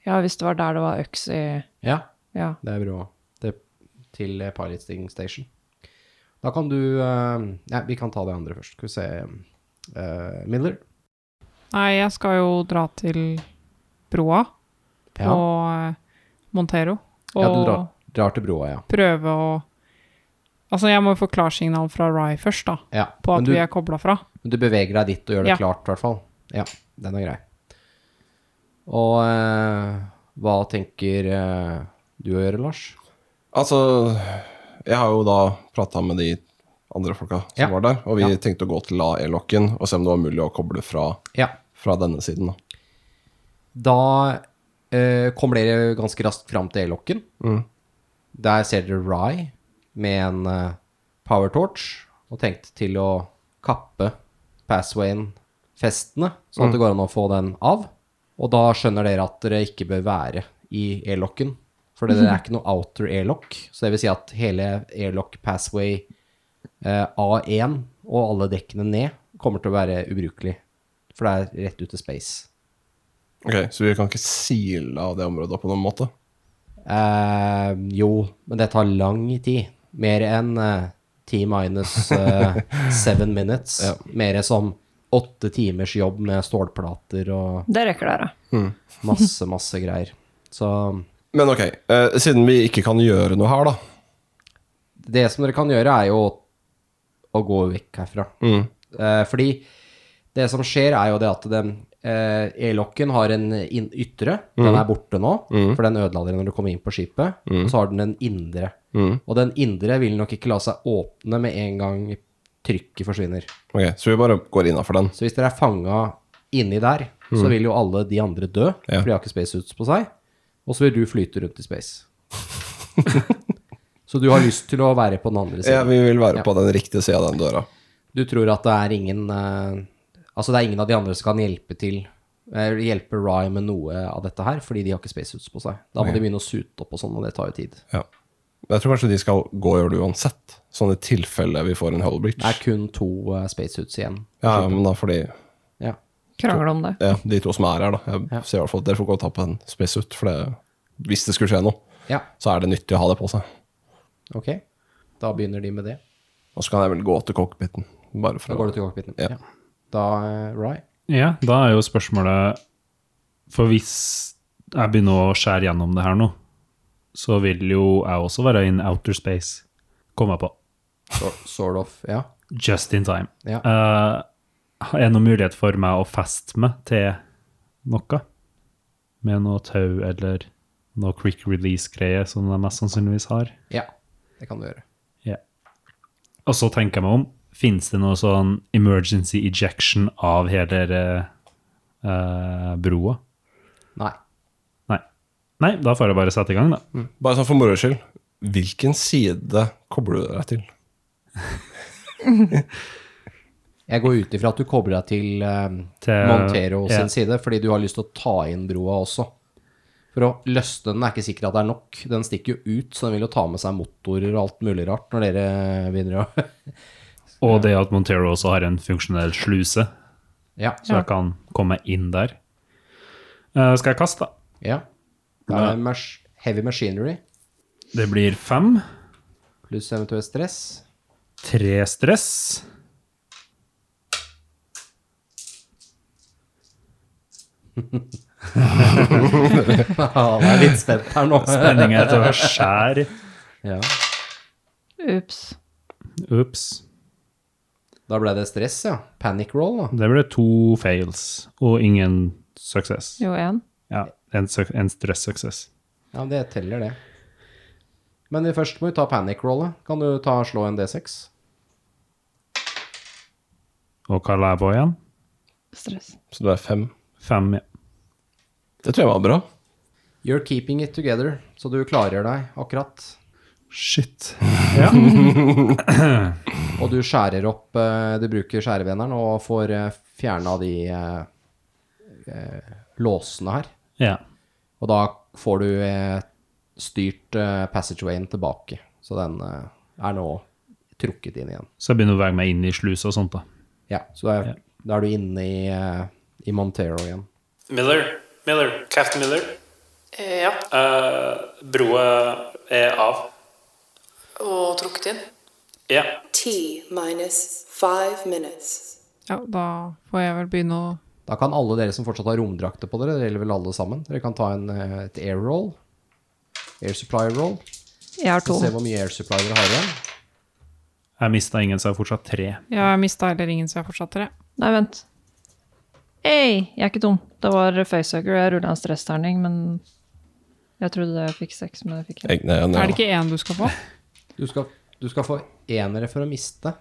S3: Ja, hvis det var der det var øks i
S2: Ja,
S3: Ja.
S2: det er broa. Det, til eh, Pilot Sting Station. Da kan du eh, Nei, vi kan ta det andre først. Skal vi se eh, Miller.
S4: Nei, jeg skal jo dra til broa
S2: Ja.
S4: og eh, Montero. Og
S2: ja, du drar, drar til broa, ja.
S4: prøve å Altså, jeg må jo få klarsignal fra Rye først, da.
S2: ja.
S4: På at
S2: Men du,
S4: vi er kobla fra.
S2: men du beveger deg dit og gjør det
S4: Ja.
S2: klart, i hvert fall. Ja, den er grei. Og eh, hva tenker eh, du å gjøre, Lars?
S1: Altså, jeg har jo da prata med de andre folka som
S2: Ja.
S1: var der, og vi
S2: Ja.
S1: tenkte å gå til A-E-lokken og se om det var mulig å koble fra,
S2: Ja.
S1: fra denne siden. Da.
S2: Da eh, kommer dere ganske raskt fram til e-lokken. Der ser dere Rye med en eh, power torch og tenkt til å kappe Passwayen-festene, sånn at det går an å få den av. Og da skjønner dere at dere ikke bør være i e-lokken, for det er ikke noe outer e-lokk. Så det vil si at hele e-lokk Passway eh, A1 og alle dekkene ned kommer til å være ubrukelig, for det er rett ut til space.
S1: Ok, Så vi kan ikke sile av det området på noen måte?
S2: Eh, jo, men det tar lang tid. Mer enn eh, 10 minus eh, 7 minutes. Mer som åtte timers jobb med stålplater og
S3: Det rekker dere.
S2: masse, masse greier. Så
S1: Men ok, eh, siden vi ikke kan gjøre noe her, da.
S2: det som dere kan gjøre, er jo å, å gå vekk herfra. Eh, fordi det som skjer, er jo det at den eh, E-lokken har en inn- ytre. Den
S1: Mm.
S2: er borte nå, for den ødela dere når du kom inn på skipet. Og så har den en indre.
S1: Mm.
S2: Og den indre vil nok ikke la seg åpne med en gang trykket forsvinner.
S1: Ok, Så vi bare går innafor den.
S2: Så hvis dere er fanga inni der, så vil jo alle de andre dø,
S1: Mm. Ja.
S2: for de har ikke spacesuits på seg. Og så vil du flyte rundt i space. så du har lyst til å være på den andre siden.
S1: Ja, vi vil være
S2: Ja.
S1: på den riktige sida av den døra.
S2: Du tror at det er ingen eh, Altså det er ingen av de andre som kan hjelpe til eh, Hjelpe Rye med noe av dette her Fordi de har ikke spacesuits på seg Da må de begynne å sute opp og sånn, og det tar jo tid
S1: Ja. Jeg tror kanskje de skal gå og gjøre det uansett, sånn i tilfelle vi får en hull breach.
S2: Det er kun to eh, spacesuits igjen
S1: Ja, men da får de
S2: ja.
S3: Krangle om det.
S1: ja, de to som er her, da. Jeg ser i hvert fall at dere får gå og ta på en spacesuit, for det, hvis det skulle skje noe,
S2: ja,
S1: så er det nyttig å ha det på seg.
S2: ok Da begynner de med det
S1: Og så kan jeg vel gå til cockpiten, bare
S2: Da
S1: for å
S2: går du til cockpiten
S1: Ja.
S2: ja. Da, eh, Rye
S6: Ja, da er jo spørsmålet For hvis jeg begynner å skjære gjennom det her nå, så vil jo jeg også være in outer space. Kom jeg på.
S2: so- Sort of, ja
S6: Just in time.
S2: Ja.
S6: Eh, er det noen mulighet for meg å feste meg til noe? Med noe tau eller noe quick release-greie som jeg mest sannsynligvis har.
S2: Ja, det kan du gjøre
S6: Ja. Og så tenker jeg meg om. Fins det noe sånn emergency ejection av hele eh, eh, broa?
S2: Nei,
S6: Nei. Nei, da får jeg bare sette i gang, da.
S1: Bare sånn for moro skyld, hvilken side kobler du deg til?
S2: jeg går ut ifra at du kobler deg til, eh,
S6: Til-
S2: Montero
S6: ja.
S2: sin side Fordi du har lyst til å ta inn broa også For å løsne den er ikke sikkert at det er nok. Den stikker jo ut, så den vil jo ta med seg motorer og alt mulig rart når dere begynner å
S6: Og det at Montero også har en funksjonell sluse,
S2: Ja.
S6: så jeg kan komme inn der. Eh, skal jeg kaste, da?
S2: ja. Da er det mas- heavy machinery
S6: Det blir fem.
S2: pluss eventuelt stress.
S6: Tre stress.
S2: Han er litt spent her nå.
S6: Spenning etter å skjære.
S2: Ja.
S3: Ups.
S6: Ups.
S2: Da ble det stress, ja. Panic roll, da.
S6: Det ble to fails og ingen suksess.
S3: Jo, én.
S6: Ja, en, søk- en stress-suksess.
S2: Ja, men det teller, det. Men vi først må vi ta panic rollet. Kan du ta slå en D6?
S6: Og hva la jeg på igjen?
S3: Stress.
S1: Så du er fem.
S6: Fem, ja.
S1: Det tror jeg var bra.
S2: You're keeping it together, så du klarer deg akkurat.
S6: Shit.
S2: Og du skjærer opp eh, Du bruker skjæreveneren og får uh, fjerna de eh, eh, låsene her.
S6: Ja.
S2: Og da får du eh, styrt eh, passagewayen tilbake. Så den eh, er nå trukket inn igjen.
S6: Så jeg begynner å bevege meg inn i slus og sånt, da.
S2: Ja, så da er, da er du inne i, eh, i Montero igjen.
S7: Miller, Miller, Captain Miller.
S8: Eh, ja.
S7: Eh, broa er av.
S8: Og trukket inn.
S7: Ja.
S5: T minus five minutes.
S4: Ja, da får jeg vel begynne å
S2: Da kan alle dere som fortsatt har romdrakter på dere, det gjelder vel alle sammen, dere kan ta en, eh, et air roll. Air supply roll.
S3: Jeg har
S2: Så
S3: to.
S2: se hvor mye air supply dere har igjen.
S6: Jeg mista ingen, så jeg har fortsatt tre.
S4: Jeg mista heller ingen, så jeg fortsatte det.
S3: Nei, vent. Ei, jeg er ikke dum. Det var facehugger. Jeg rulla en stressterning, men jeg trodde jeg fikk seks, men det fikk jeg.
S1: Jeg, nei,
S4: Er
S1: nei,
S4: det
S1: ja.
S4: ikke én du skal få?
S2: Du skal, du skal få enere for å miste.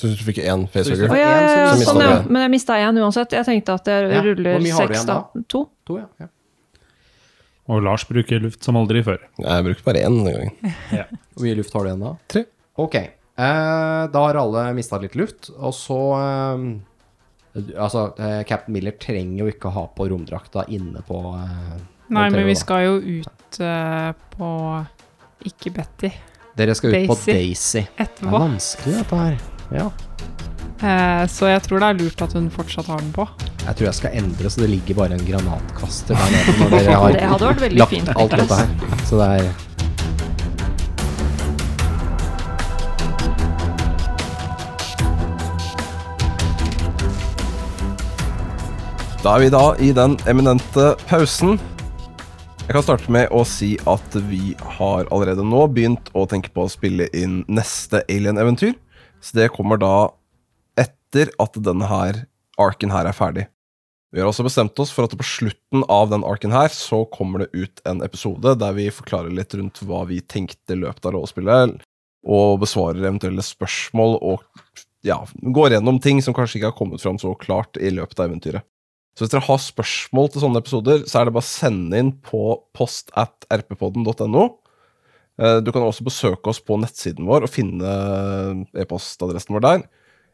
S1: Syns du fikk én
S2: Så hvis du
S1: facehugger?
S3: Å, ja, ja, ja,
S1: Så mistet
S3: sånn, ja.
S1: du en.
S3: Men jeg mista én uansett. Jeg tenkte at jeg
S2: Ja, hvor
S3: ruller
S2: mye har du
S3: seks,
S2: igjen
S3: da.
S2: da?
S3: To.
S2: To, ja. ja.
S6: Og Lars bruker luft som aldri før.
S1: Jeg brukte bare én denne gangen.
S2: Hvor mye luft har du igjen da?
S1: Tre.
S2: Ok. Eh, da har alle mista litt luft, og så eh, Altså, eh, Captain Miller trenger jo ikke å ha på romdrakta inne på eh,
S4: Nei, men
S2: Montero,
S4: vi
S2: da.
S4: skal jo ut eh, på Ikke Betty.
S2: Dere skal ut på Daisy.
S4: Daisy.
S2: Det er
S4: Etterpå.
S2: vanskelig, dette her. Ja.
S4: Eh, så jeg tror det er lurt at hun fortsatt har den på.
S2: Jeg tror jeg skal endre, så det ligger bare en granatkaster der nede når dere har
S3: Det hadde vært veldig
S2: lagt
S3: fint.
S2: alt dette her. Så det er
S1: Da er vi da i den eminente pausen. Jeg kan starte med å si at vi har allerede nå begynt å tenke på å spille inn neste Alien-eventyr. Så det kommer da etter at denne her arken her er ferdig. Vi har også bestemt oss for at på slutten av den arken her, så kommer det ut en episode der vi forklarer litt rundt hva vi tenkte i løpet av rollespillet, og besvarer eventuelle spørsmål og ja, går gjennom ting som kanskje ikke har kommet fram så klart i løpet av eventyret. Så hvis dere har spørsmål til sånne episoder, så er det bare å sende inn på post at rppodden.no. Eh, Du kan også besøke oss på nettsiden vår og finne eh, e-postadressen vår der.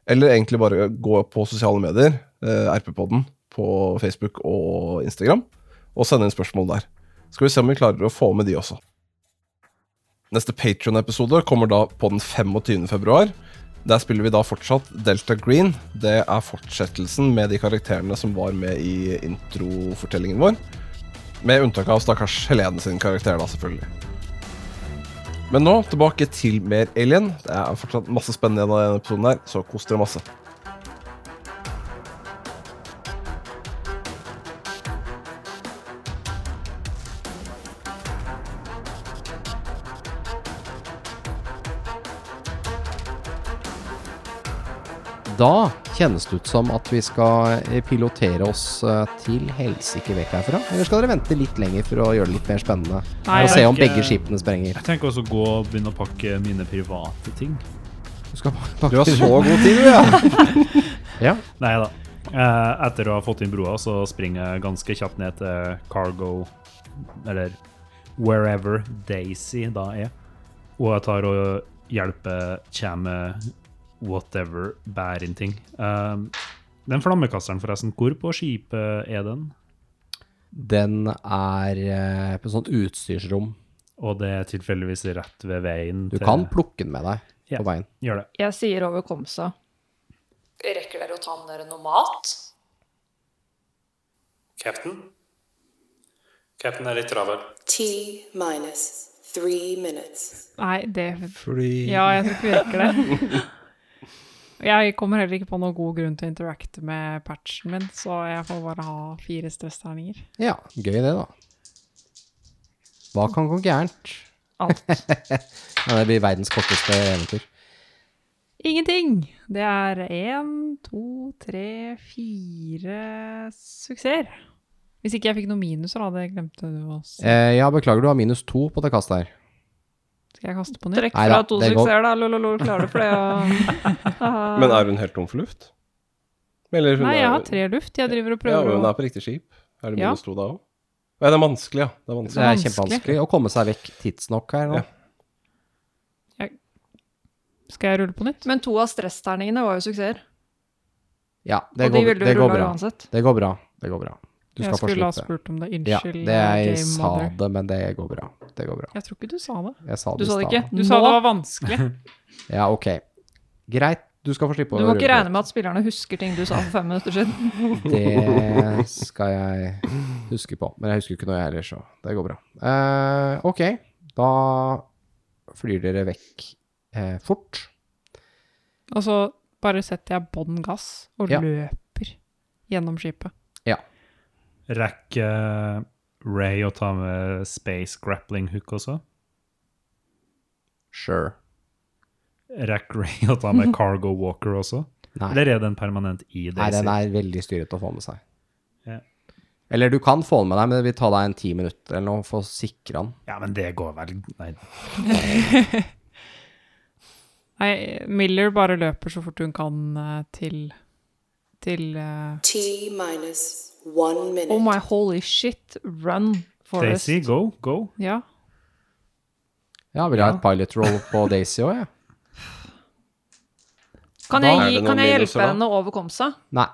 S1: Eller egentlig bare gå på sosiale medier, eh, rppodden, på Facebook og Instagram, og sende inn spørsmål der. Skal vi se om vi klarer å få med de også. Neste Patron-episode kommer da på den 25. februar. Der spiller vi da fortsatt Delta Green. Det er fortsettelsen med de karakterene som var med i introfortellingen vår. Med unntak av stakkars Helene sin karakter, da, selvfølgelig. Men nå tilbake til mer Alien. Det er fortsatt masse spennende igjen av denne episoden her, så kos dere masse.
S2: Da kjennes det ut som at vi skal eh, pilotere oss eh, til helsike vekk herfra. Eller skal dere vente litt lenger for å gjøre det litt mer spennende?
S4: Nei,
S2: og se om
S6: jeg-
S2: begge skipene sprenger.
S6: Jeg tenker også å gå og begynne å pakke mine private ting.
S2: Du, har så god tid, du, ja. ja.
S6: Nei da. Eh, etter å ha fått inn broa, så springer jeg ganske kjapt ned til Cargo, eller wherever Daisy da er. Og jeg tar og hjelper Cham med whatever, bærer inn ting. Eh, den flammekasteren, forresten, hvor på skipet er den?
S2: Den er eh, på sånt utstyrsrom.
S6: Og det er tilfeldigvis rett ved veien.
S2: Du kan plukke den med deg
S6: Ja.
S2: på veien.
S6: Gjør det.
S3: Jeg sier over Komsa.
S8: Rekker dere å ta med dere noe mat?
S7: Captain? Captain er litt travel.
S5: T minus three minutes.
S4: Nei, det Ja, jeg tror ikke vi rekker det. Jeg kommer heller ikke på noen god grunn til å interacte med patchen min, så jeg får bare ha fire stressterninger.
S2: Ja, gøy det, da. Hva kan gå gærent?
S3: Alt.
S2: Ja, det blir verdens korteste eventyr.
S4: Ingenting! Det er én, to, tre, fire suksesser. Hvis ikke jeg fikk noen minuser, da. Det glemte du å si.
S2: Eh, ja, beklager, du har minus to på det kastet her.
S4: Skal jeg kaste på nytt?
S3: Trekk
S2: Nei
S3: fra
S2: da,
S3: to
S2: det går.
S3: suksesser, da. Lololol, klarer du for det? Og... Ah.
S1: Men er hun helt tom for luft? Eller hun
S4: Nei,
S1: er-
S4: jeg har tre luft. Jeg driver og
S1: Ja,
S4: prøver
S1: men hun
S4: å
S1: er på riktig skip. Er det
S4: Ja.
S1: minus to da òg? Nei, det er vanskelig, ja. Det er
S2: Det
S1: vanskelig.
S2: er
S4: vanskelig.
S2: kjempevanskelig å komme seg vekk tidsnok her nå.
S1: Ja.
S4: Skal jeg rulle på nytt?
S3: Men to av stressterningene var jo suksesser.
S2: Ja, det
S3: Og de
S2: går,
S3: ville
S2: det
S3: du
S2: går
S3: rulle
S2: bra.
S3: uansett.
S2: Det går bra. Det går bra. Du skal
S4: jeg
S2: få
S4: skulle ha
S2: slutte.
S4: spurt om det.
S2: Ja,
S4: Unnskyld,
S2: det jeg
S4: game
S2: sa
S4: mother.
S2: det, men det går bra. Det går bra.
S4: Jeg tror ikke du sa det.
S2: Jeg sa det
S3: Du
S2: i
S3: sa det
S2: stad.
S3: ikke?
S4: Du sa
S3: Nå-
S4: det var vanskelig.
S2: Ja, ok. Greit, du skal få slippe å
S3: Du må ikke
S2: rulle.
S3: regne med at spillerne husker ting du sa for fem minutter siden.
S2: Det skal jeg huske på. Men jeg husker ikke noe jeg heller, så det går bra. Eh, ok, da flyr dere vekk eh, fort.
S4: Og så bare setter jeg bånn gass og
S2: Ja.
S4: løper gjennom skipet.
S6: Rekker Ray å ta med space grappling hook også?
S2: Sure.
S6: Rekker Ray å ta med cargo walker også?
S2: Nei.
S6: Eller er den permanent i
S2: Nei,
S6: Daisy?
S2: den er veldig styrete å få med seg.
S6: Ja.
S2: Eller du kan få den med deg, men det vil ta deg en ti minutter eller noe for å sikre den.
S6: Ja, men det går vel Nei.
S4: Nei, Miller bare løper så fort hun kan eh, til til eh,
S5: T minus one minute.
S3: Oh my holy shit, run, Forest.
S6: Daisy, go, go.
S4: Ja.
S2: Ja, vil jeg ha et pilot roll på Daisy òg, jeg?
S3: Kan
S1: Da er
S3: jeg, gi,
S1: det noen
S3: kan jeg
S1: minuser,
S3: hjelpe
S1: da.
S3: henne over Komsa?
S2: Nei.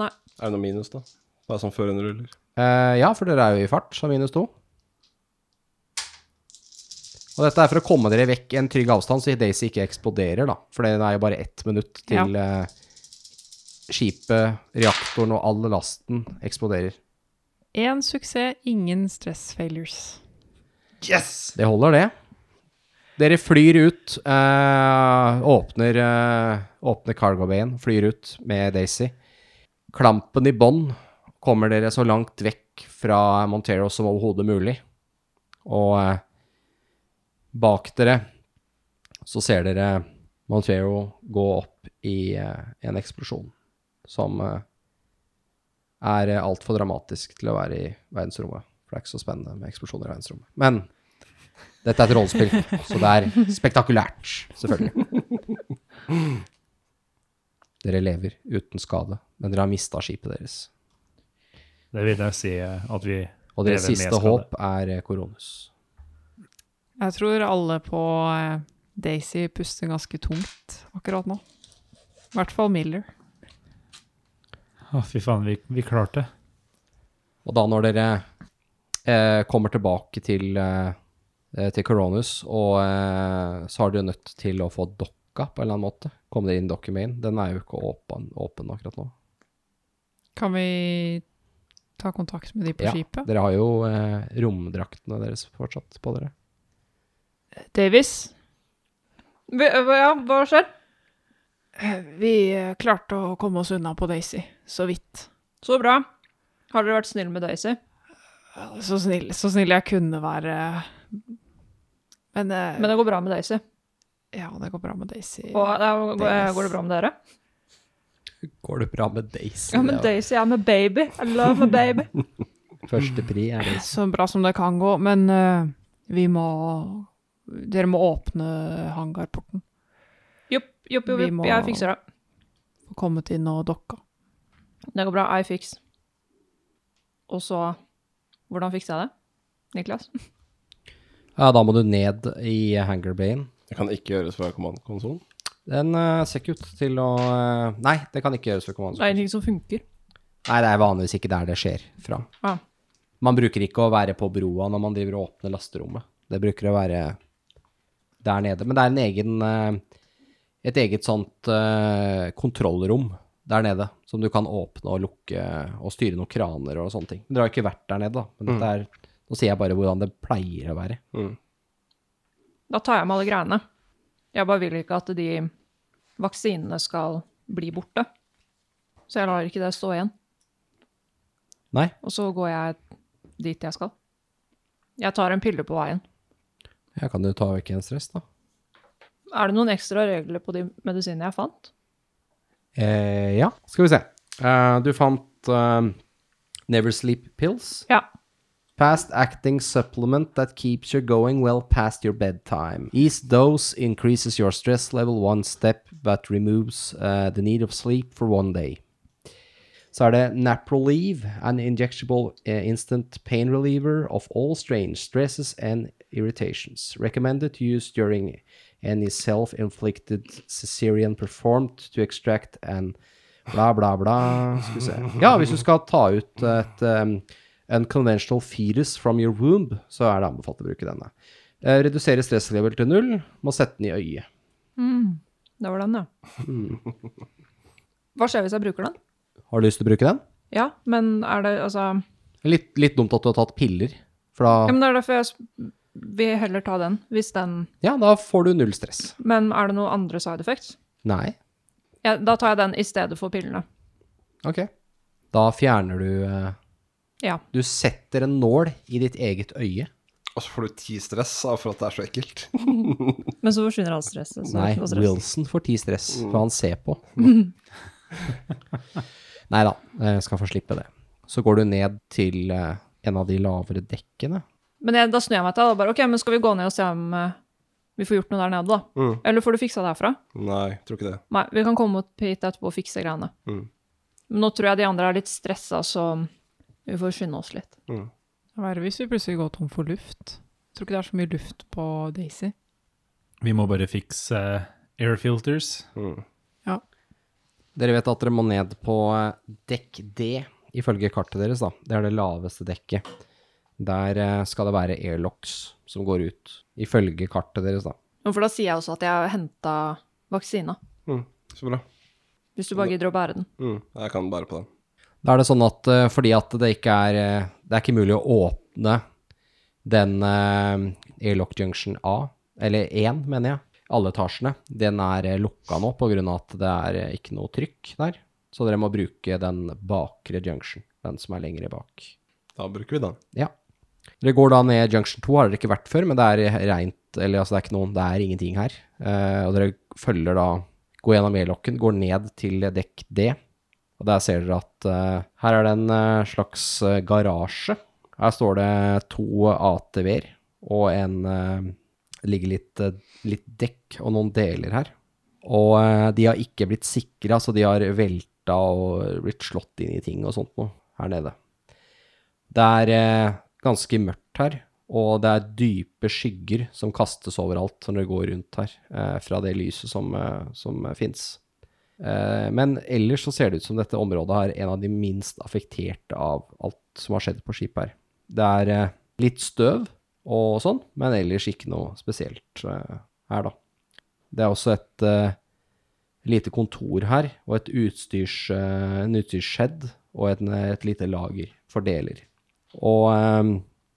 S3: Nei.
S1: Er det noe minus, da? Det er som før hun ruller.
S2: Eh, ja, for dere er jo i fart, så minus to. Og dette er for å komme dere vekk en trygg avstand, så Daisy ikke eksploderer, da. For det er jo bare ett minutt til eh, skipet, reaktoren og all lasten eksploderer.
S4: Én suksess, ingen stress failures.
S2: Det holder, det. Dere flyr ut, eh, åpner, eh, åpner cargo bayen, flyr ut med Daisy. Klampen i bånn kommer dere så langt vekk fra Montero som overhodet mulig. Og eh, bak dere så ser dere Montero gå opp i eh, en eksplosjon som eh, er eh, altfor dramatisk til å være i verdensrommet. For det er ikke så spennende med eksplosjoner i verdensrommet. Men dette er et rollespill, så det er spektakulært, selvfølgelig. Dere lever uten skade, men dere har mista skipet deres.
S6: Det vil jeg si eh, at vi
S2: Og deres
S6: lever med
S2: siste
S6: skade.
S2: håp er eh, koronus.
S4: Jeg tror alle på eh, Daisy puster ganske tungt akkurat nå. I hvert fall Miller.
S6: Å, fy faen, vi, vi klarte det.
S2: Og da når dere eh, kommer tilbake til, eh, eh, til Coronus, og eh, så har dere nødt til å få dokka på en eller annen måte. Komme dere inn dokka main. Den er jo ikke åpen, åpen akkurat nå.
S4: Kan vi ta kontakt med de på
S2: Ja,
S4: skipet?
S2: Dere har jo eh, romdraktene deres fortsatt på dere.
S4: Davis?
S3: Vi- Ja, hva skjer?
S4: Vi eh, klarte å komme oss unna på Daisy, så vidt.
S3: Så bra. Har dere vært snille med Daisy?
S4: Så snill, så snill jeg kunne være. Men, eh,
S3: Men det går bra med Daisy.
S4: ja, det går bra med Daisy.
S3: Og da går går det bra med dere?
S2: Går det bra med Daisy?
S3: Ja, men Daisy er med baby. I love my baby.
S2: Førstepri er Daisy.
S4: Så bra som det kan gå, men eh, vi må Dere må åpne hangarporten.
S3: Jopp, jopp, jopp,
S4: Vi
S3: jopp.
S4: må-
S3: Jeg fikser det.
S4: Få kommet inn og dokka.
S3: Det går bra. I fix. Og så Hvordan fiksa jeg det? Niklas?
S2: Ja, da må du ned i hangar bayen.
S1: Det kan ikke gjøres fra kommandokonsollen.
S2: Den eh, ser ikke ut til å eh, Nei, det kan ikke gjøres ved kommando.
S3: Det er ingenting som funker.
S2: Nei, det er vanligvis ikke der det skjer fra.
S3: Ah.
S2: Man bruker ikke å være på broa når man driver og åpner lasterommet. Det bruker å være der nede. Men det er en egen eh, Et eget sånt eh, kontrollrom der nede som du kan åpne og lukke og styre noen kraner og sånne ting. Men dere har ikke vært der nede, da. Men dette er, nå sier jeg bare hvordan det pleier å være.
S3: Da tar jeg med alle greiene. Jeg bare vil ikke at de vaksinene skal bli borte. Så jeg lar ikke det stå igjen.
S2: Nei?
S3: Og så går jeg dit jeg skal. Jeg tar en pille på veien.
S2: Jeg kan jo ta vekk en stress, da.
S3: Er det noen ekstra regler på de medisinene jeg fant?
S2: Eh, ja, skal vi se. Eh, du fant eh, Never Sleep Pills.
S3: Ja.
S2: Fast acting supplement that keeps you going well past your bedtime. Each dose increases your stress level one step, but removes uh, the need of sleep for one day. Så er det Naprolieve, an injectable eh, instant pain reliever of all strange stresses and irritations. Recommended to use during any self-inflicted cesarean performed to extract an bla, bla, bla. Skal vi se. Ja, hvis du skal ta ut et um, unconventional fetus from your womb, så er det anbefalt å bruke denne. Eh, Redusere stresslevel til null, må sette den i øyet.
S3: Det var den, ja. Hva skjer hvis jeg bruker den?
S2: Har du lyst til å bruke den?
S3: Ja, men er det altså
S2: Litt, litt dumt at du har tatt piller, for
S3: Ja,
S2: da,
S3: men det er derfor jeg s- vil heller ta den, hvis den
S2: ja, da får du null stress.
S3: Men er det noen andre side effects?
S2: Nei.
S3: Ja, da tar jeg den i stedet for pillene.
S2: Ok. Da fjerner du eh,
S3: Ja.
S2: Du setter en nål i ditt eget øye.
S1: Og så får du ti stress av for at det er så ekkelt.
S3: Men så forsvinner alt stresset. så det er
S2: Nei,
S3: ikke noe stress. Mm.
S2: Wilson får ti stress, for han ser på. Nei da, jeg skal få slippe det. Så går du ned til eh, en av de lavere dekkene.
S3: Men jeg, da snur jeg meg til deg og bare OK, men skal vi gå ned og se om eh, vi får gjort noe der nede, da?
S1: Mm.
S3: Eller får du fiksa det herfra?
S1: Nei, tror ikke det.
S3: Nei, vi kan komme opp hit etterpå og fikse greiene.
S1: Mm.
S3: Men nå tror jeg de andre er litt stressa, så vi får skynde oss litt.
S4: Verre hvis vi plutselig går tom for luft. Jeg tror ikke det er så mye luft på Daisy.
S6: Vi må bare fikse eh, air filters.
S2: Dere vet at dere må ned på eh, dekk D, ifølge kartet deres, da. Det er det laveste dekket. Der eh, skal det være airlocks som går ut, ifølge kartet deres, da.
S3: Jo, For da sier jeg også at jeg har henta vaksina,
S1: Mm. Så bra.
S3: hvis du bare gidder å bære den.
S1: Mm. Jeg kan bære på den.
S2: Da er det sånn at eh, fordi at det ikke er eh, Det er ikke mulig å åpne den eh, airlock junction A, eller 1, mener jeg, alle etasjene. Den er eh, lukka nå pga. at det er eh, ikke noe trykk der. Så dere må bruke den bakre junction, den som er lengre bak.
S1: Da bruker vi den.
S2: Ja. Dere går da ned Junction 2, har dere ikke vært før, men det er rent, eller altså det er ikke noen, det er ingenting her. Eh, og dere følger da, går gjennom e-lokken, går ned til dekk D, og der ser dere at eh, her er det en eh, slags eh, garasje. Her står det to ATV-er, og en, eh, det ligger litt, eh, litt dekk og noen deler her. Og eh, de har ikke blitt sikret, så de har velta og blitt slått inn i ting og sånt noe her nede. Det er eh, ganske mørkt her, og det er dype skygger som kastes overalt når det går rundt her, eh, fra det lyset som, eh, som eh, finnes. Eh, men ellers så ser det ut som dette området er en av de minst affekterte av alt som har skjedd på skipet her. Det er eh, litt støv og sånn, men ellers ikke noe spesielt eh, her, da. Det er også et eh, lite kontor her, og et utstyrs, eh, en utstyrsshed og en, eh, et lite lager for deler. Og eh,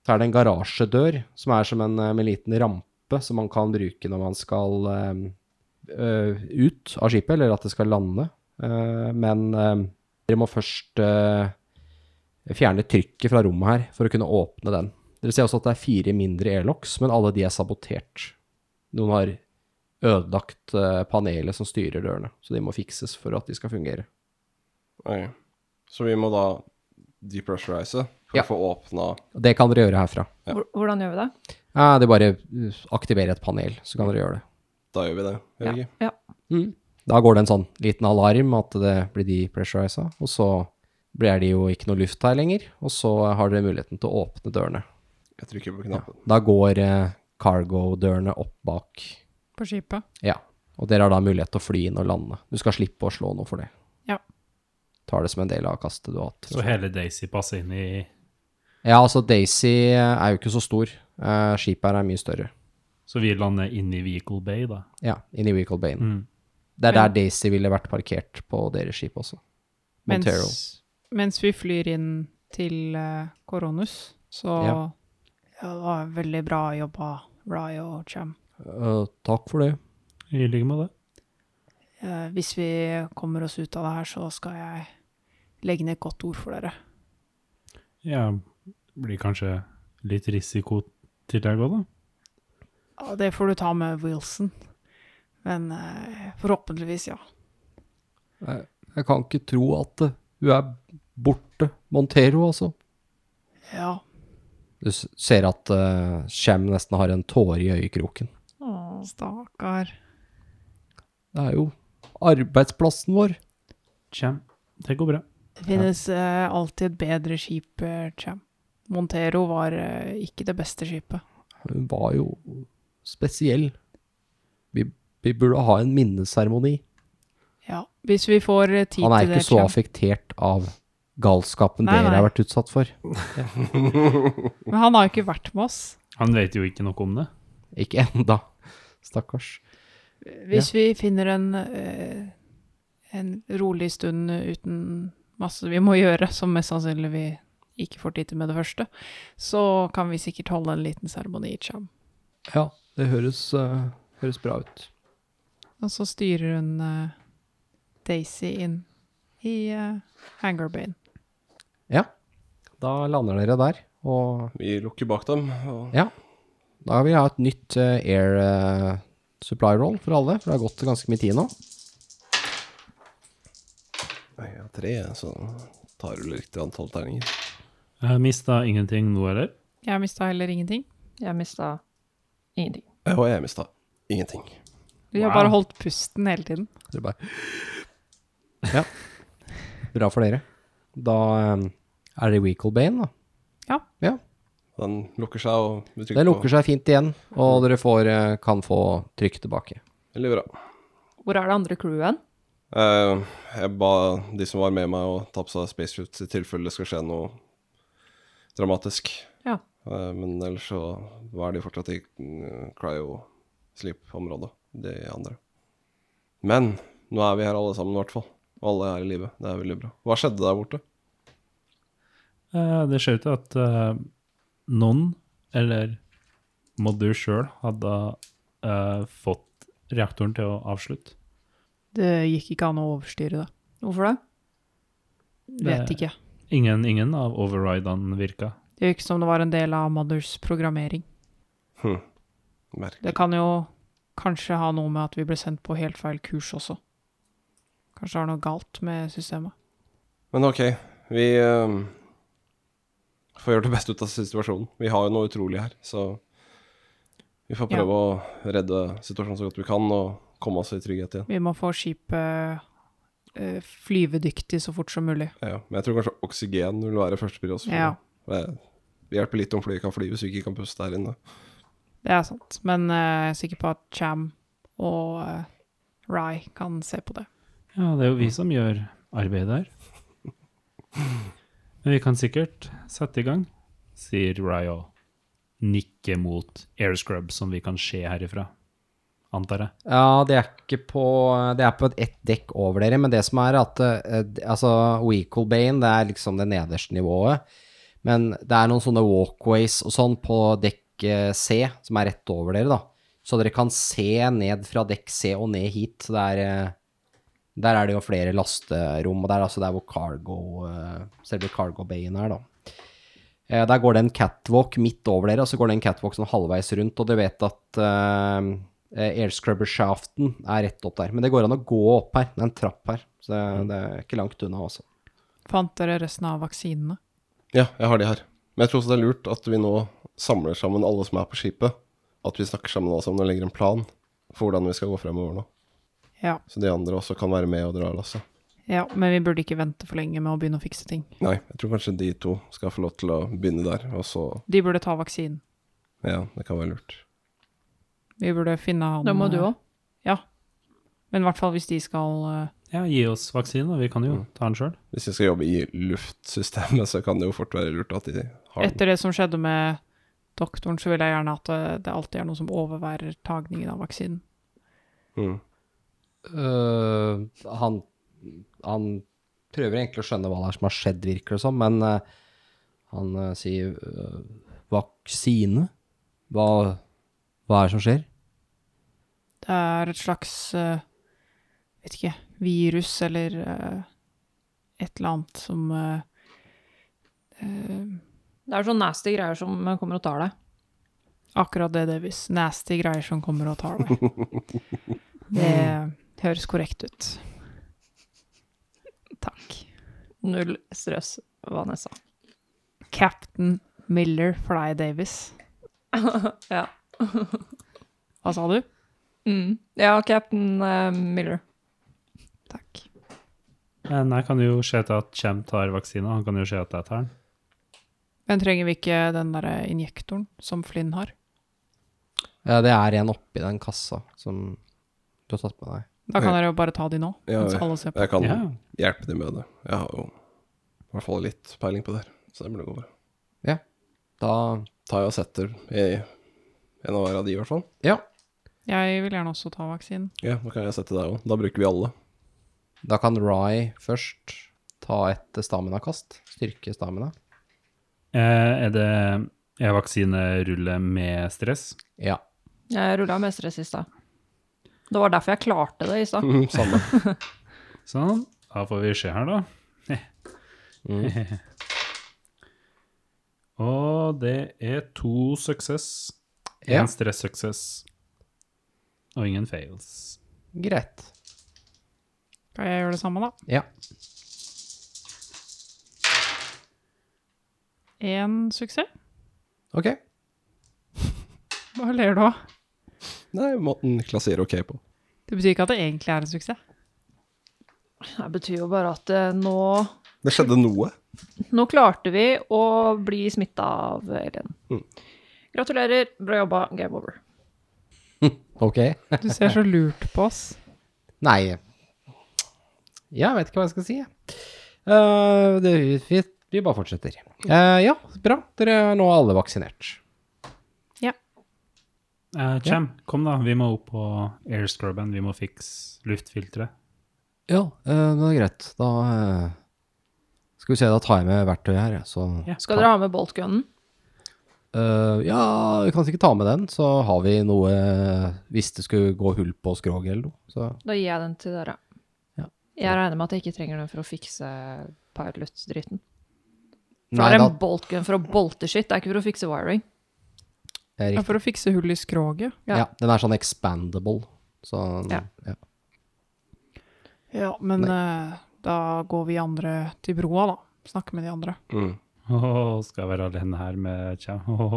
S2: så er det en garasjedør som er som en, eh, med en liten rampe som man kan bruke når man skal eh, eh, ut av skipet, eller at det skal lande. Eh, men eh, dere må først eh, fjerne trykket fra rommet her for å kunne åpne den. Dere ser også at det er fire mindre airlocks, men alle de er sabotert. Noen har ødelagt eh, panelet som styrer dørene, så de må fikses for at de skal fungere.
S1: Ok. Så vi må da depressurize for
S2: Ja.
S1: å få åpna
S2: Og Det kan dere gjøre herfra.
S3: Hvor- Hvordan gjør vi det?
S2: Eh, det er bare uh, aktivere et panel, så kan dere gjøre det.
S1: Da gjør vi det, gjør vi ikke?
S3: Ja.
S2: Da går det en sånn liten alarm at det blir depressurisa, og så blir det jo ikke noe luft her lenger, og så har dere muligheten til å åpne dørene.
S1: Jeg trykker på knappen.
S2: Da går eh, cargo-dørene opp bak,
S4: På skipet.
S2: ja, og dere har da mulighet til å fly inn og lande. Du skal slippe å slå noe for det.
S4: Ja.
S2: Tar det som en del av kastet du har hatt.
S6: Så hele Daisy passer inn i
S2: Ja, altså Daisy er jo ikke så stor. Eh, skipet her er mye større.
S6: Så vi lander inn i Vehicle Bay, da.
S2: Ja, inni Weekle Bane. Det er der Daisy ville vært parkert på deres skip også. Montero.
S4: Mens, mens vi flyr inn til eh, Koronus, så ja.
S2: Ja.
S4: det var veldig bra jobba, Rye og Cham.
S2: Eh, takk for det.
S6: I like måte.
S4: Eh, hvis vi kommer oss ut av det her, så skal jeg legge ned et godt ord for dere.
S6: Ja, blir kanskje litt risiko til deg òg, da.
S4: Ja, det får du ta med Wilson. Men eh, forhåpentligvis, ja.
S2: Jeg kan ikke tro at eh, hun er borte. Montero, altså.
S4: Ja.
S2: Du s- ser at eh, Shem nesten har en tåre i øyekroken.
S4: Stakkar.
S2: Det er jo arbeidsplassen vår.
S6: Kjem. Det går bra.
S4: Det finnes eh, alltid et bedre skip, eh, Cham. Montero var eh, ikke det beste skipet.
S2: Hun var jo spesiell. Vi, vi burde ha en minneseremoni.
S4: Ja, Hvis vi får eh, tid
S2: Han er
S4: til det,
S2: ikke så
S4: Cham.
S2: affektert av galskapen
S4: Nei,
S2: dere
S4: nei.
S2: har vært utsatt for.
S4: Men han har jo ikke vært med oss.
S6: Han vet jo ikke noe om det.
S2: Ikke enda. Stakkars.
S4: Hvis vi finner en, eh, en rolig stund uten masse vi må gjøre, som mest sannsynlig vi ikke får tid til med det første, så kan vi sikkert holde en liten seremoni i Cham.
S2: Ja, det høres, eh, høres bra ut.
S4: Og så styrer hun eh, Daisy inn i eh, Hangar Bay.
S2: Ja, da lander dere der. Og
S1: Vi lukker bak dem. Og
S2: ja, da vil jeg ha et nytt eh, air eh, supply roll for alle, for det har gått ganske mye tid nå.
S1: Nei, jeg har tre, så tar du riktig antall terninger.
S6: Jeg mista ingenting nå, eller?
S4: Jeg mista heller ingenting.
S3: Jeg mista ingenting.
S1: Ja, Og jeg mista ingenting.
S4: Vi har bare holdt pusten hele tiden.
S2: Dere bare Ja. Bra for dere. Da eh, er det Weekle Bane, da.
S4: Ja.
S2: Ja.
S1: Den lukker seg, og vi trykker
S2: Den lukker seg fint igjen, og dere får, eh, kan få trykk tilbake.
S1: på. Veldig bra.
S3: Hvor er det andre crewet hen?
S1: Eh, jeg ba de som var med meg, å ta på seg spacesuits i tilfelle det skal skje noe dramatisk.
S3: Ja.
S1: Eh, men ellers så var de fortsatt i mm, cryo-sleep-området, de andre. Men nå er vi her alle sammen, i hvert fall. Og alle er i live. Det er veldig bra. Hva skjedde der borte?
S6: Eh, Det ser ut til at eh, noen, eller Modder sjøl, hadde eh, fått reaktoren til å avslutte.
S4: Det gikk ikke an å overstyre det.
S3: Hvorfor det?
S4: Vet ikke.
S6: Ingen, ingen av overridene virka.
S4: Det virket som det var en del av Mothers programmering.
S1: Merk.
S4: Det kan jo kanskje ha noe med at vi ble sendt på helt feil kurs også. Kanskje det var noe galt med systemet.
S1: Men ok, vi eh, får gjøre det beste ut av situasjonen. Vi har jo noe utrolig her, så vi får prøve å redde situasjonen så godt vi kan, og komme oss i trygghet igjen.
S4: Vi må få skipet eh, flyvedyktig så fort som mulig.
S1: Ja, ja. men jeg tror kanskje oksygen vil være første prioritet.
S4: Ja.
S1: Det hjelper litt om flyet kan fly hvis vi ikke kan puste her inne.
S4: Det er sant. Men eh, jeg er sikker på at Cham og eh, Rai kan se på det.
S6: Ja, det er jo vi som gjør arbeidet her. Men vi kan sikkert sette i gang, sier Ryo. Nikke mot airscrub som vi kan se herifra, antar jeg.
S2: Ja, det er ikke på Det er på et ett dekk over dere, men det som er at eh, d- Altså, Weekle Bane, det er liksom det nederste nivået. Men det er noen sånne walkways og sånn på dekk eh, C, som er rett over dere, da. Så dere kan se ned fra dekk C og ned hit. Så det er eh, Der er det jo flere lasterom, og det er altså der hvor cargo eh, Selve cargo bayen er, da. Eh, Der går det en catwalk midt over dere, og så går det en catwalk sånn halvveis rundt, og dere vet at uh, airscrubber-shaften er rett opp der. Men det går an å gå opp her, det er en trapp her, så det, det er ikke langt unna også.
S4: Fant dere resten av vaksinene?
S1: Ja, jeg har de her. Men jeg tror også det er lurt at vi nå samler sammen alle som er på skipet. At vi snakker sammen alle sammen og legger en plan for hvordan vi skal gå fremover nå.
S4: Ja.
S1: Så de andre også kan være med og dra altså. lasset.
S4: ja. Men vi burde ikke vente for lenge med å begynne å fikse ting.
S1: Nei, jeg tror kanskje de to skal få lov til å begynne der, og så
S4: De burde ta vaksinen.
S1: Ja, det kan være lurt.
S4: Vi burde finne han eh,
S3: Det må du òg.
S4: Ja. Men i hvert fall hvis de skal eh,
S6: Ja, gi oss vaksinen, og vi kan jo ta den sjøl.
S1: Hvis vi skal jobbe i luftsystemet, så kan det jo fort være lurt at de har den.
S4: Etter det som skjedde med doktoren, så vil jeg gjerne at eh, det alltid er noen som overværer tagningen av vaksinen.
S1: Mm.
S2: Eh, han, han prøver egentlig å skjønne hva det er som har skjedd, virker det som, men eh, han eh, sier eh, Vaksine? Hva, hva er det som skjer?
S4: Det er et slags eh, vet ikke, virus eller eh, et eller annet som eh, eh,
S3: Det er sånne nasty greier som kommer og tar deg.
S4: Akkurat det, Davis. Nasty greier som kommer og tar deg. Det høres korrekt ut. Takk.
S3: Null stress, Vanessa.
S4: Captain Miller Fly Davis.
S3: Ja.
S4: Hva sa du?
S3: Mm. Ja, Captain eh, Miller.
S4: Takk.
S6: Men jeg kan jo se til at Chem tar vaksina, han kan jo se at jeg tar den.
S4: Men trenger vi ikke den der injektoren som Flynn har?
S2: Ja, det er en oppi den kassa som du har tatt med deg.
S4: Da kan dere jo bare ta de nå,
S1: Ja,
S4: mens
S1: ja.
S4: alle ser på.
S1: Jeg kan
S6: Ja.
S1: hjelpe dem med det. Jeg har jo i hvert fall litt peiling på det her, så det burde gå bra.
S2: Da
S1: Tar jeg og setter i en av hver av de, i hvert fall.
S2: Ja.
S4: Jeg vil gjerne også ta vaksinen.
S1: Ja, da kan jeg sette deg òg. Da bruker vi alle.
S2: Da kan Rye først ta et stamina-kast. Styrke stamina.
S6: Eh, er det er vaksinerulle med stress?
S2: Ja.
S3: Jeg rulla med stress i stad. Det var derfor jeg klarte det i stad.
S2: Mm.
S1: Samme.
S6: Sånn. Da får vi se her, da. Og det er to suksess.
S2: Ja.
S6: Én stress-suksess. Og ingen fails.
S2: Greit.
S4: Kan jeg gjøre det samme, da?
S2: Ja.
S4: Én suksess.
S2: Ok.
S4: Hva ler du av?
S1: Nei, måten Niklas sier ok på.
S4: Det betyr ikke at det egentlig er en suksess.
S3: Det betyr jo bare at eh, nå,
S1: Det skjedde noe.
S3: nå klarte vi å bli smitta av alien.
S2: Mm.
S3: Gratulerer, bra jobba, game over.
S2: Ok.
S4: Du ser så lurt på oss.
S2: Nei Jeg vet ikke hva jeg skal si. jeg. Eh, det, vi, vi bare fortsetter. Eh, ja, bra. Dere er nå alle vaksinert.
S6: Eh, Chem, kom da. Vi må opp på airscrubben. Vi må fikse luftfilteret.
S2: Ja, eh, det er greit. Da eh, skal vi se, da tar jeg med verktøyet her, jeg, så
S6: Ja.
S3: Skal dere ha med boltgunnen?
S2: Eh, Ja, vi kan sikkert ta med den, så har vi noe eh, hvis det skulle gå hull på skroget eller noe. Så
S3: Da gir jeg den til dere.
S2: Ja.
S3: Jeg regner med at jeg ikke trenger den for å fikse pilot-dritten. For
S2: Nei,
S3: det er
S2: da
S3: en boltgun for å bolte shit, det er ikke for å fikse wiring.
S2: det er
S4: Ja,
S2: riktig.
S4: for å fikse hull i skroget.
S3: ja.
S2: Ja, den er sånn expandable. Så,
S3: Ja.
S2: ja.
S4: Ja, men eh, da går vi andre til broa, da. Snakker med de andre.
S1: Mm.
S6: Åh, skal jeg være alene her med Chem? Åh.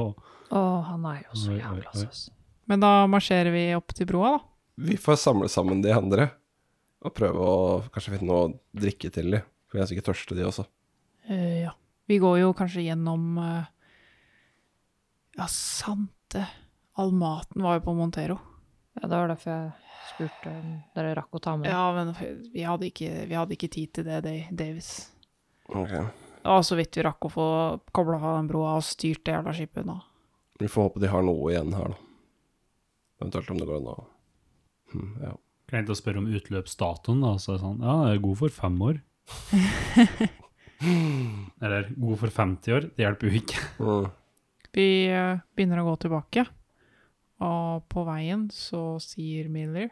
S3: Å, han er jo så
S6: Oi, oi,
S3: jævla
S6: oi.
S3: søs.
S4: Men da marsjerer vi opp til broa, da.
S1: Vi får samle sammen de andre og prøve å kanskje finne noe å drikke til de. For jeg er sikkert tørste, de også.
S4: Eh, ja. Vi går jo kanskje gjennom eh, Ja, sant det. All maten var jo på Montero.
S3: Ja, det var derfor jeg spurte om dere rakk å ta med den.
S4: Ja, men vi hadde ikke, vi hadde ikke tid til det, Dave- Davis.
S1: Ok.
S4: Det var så vidt vi rakk å få kobla av den broa og styrt det jævla skipet unna.
S1: Vi får håpe de har noe igjen her, da. Eventuelt om det går an å hm, ja.
S6: Greit å spørre om utløpsdatoen, da. Så er det sånn, ja, det er god for fem år. Eller god for 50 år. Det hjelper jo ikke.
S1: mm.
S4: Vi eh, begynner å gå tilbake, og på veien så sier Miller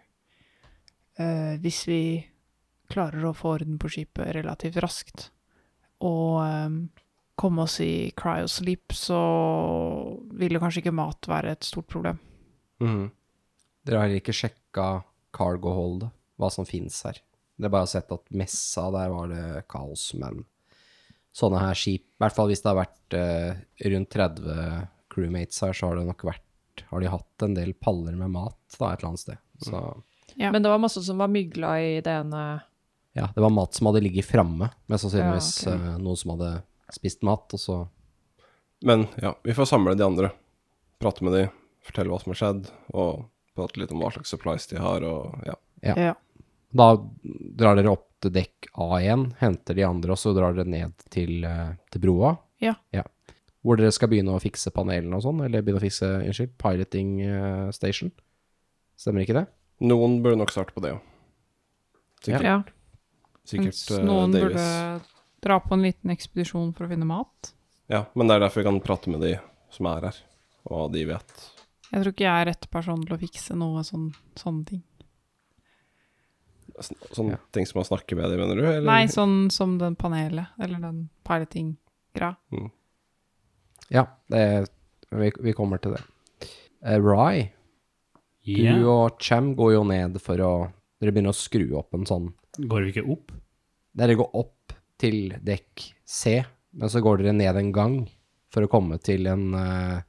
S4: eh, Hvis vi klarer å få orden på skipet relativt raskt og eh, komme oss i cryosleep, så ville kanskje ikke mat være et stort problem.
S1: Mhm.
S2: Dere har heller ikke sjekka cargo-holdet, hva som fins her. Dere har bare sett at messa der var det kaos, men sånne her skip, i hvert fall hvis det har vært eh, rundt 30 crewmates her, så har det nok vært Har de hatt en del paller med mat da, et eller annet sted. Så
S4: Ja.
S3: Men det var masse som var mygla i det ene
S2: ja, det var mat som hadde ligget framme, men sannsynligvis
S3: Ja,
S2: eh, noen som hadde spist mat, og så
S1: Men ja, vi får samle de andre. Prate med de, fortelle hva som har skjedd, og prate litt om hva slags supplies de har, og ja.
S4: Ja.
S2: Da drar dere opp til dekk A igjen, henter de andre, og så drar dere ned til, eh, til broa.
S4: Ja.
S2: Hvor dere skal begynne å fikse panelene og sånn, eller begynne å fikse, unnskyld, piloting eh, station. Stemmer ikke det?
S1: Noen burde nok starte på det, ja. Sikkert,
S4: Ja.
S1: sikkert
S4: Mens
S1: eh,
S4: noen
S1: Davis.
S4: burde dra på en liten ekspedisjon for å finne mat.
S1: Ja, men det er derfor vi kan prate med de som er her, og hva de vet.
S4: Jeg tror ikke jeg er rett person til å fikse noe sånn, sånne ting.
S1: Sn- Sånne ting som man snakker med de, mener du? Eller?
S4: Nei, sånn som den panelet, eller den piloting-greia.
S2: Ja, det, vi, vi kommer til det. Eh, Rye, du
S6: Ja.
S2: og Cham går jo ned for å Dere begynner å skru opp en sånn
S6: Går vi ikke opp?
S2: Dere går opp til dekk C, men så går dere ned en gang for å komme til en, eh,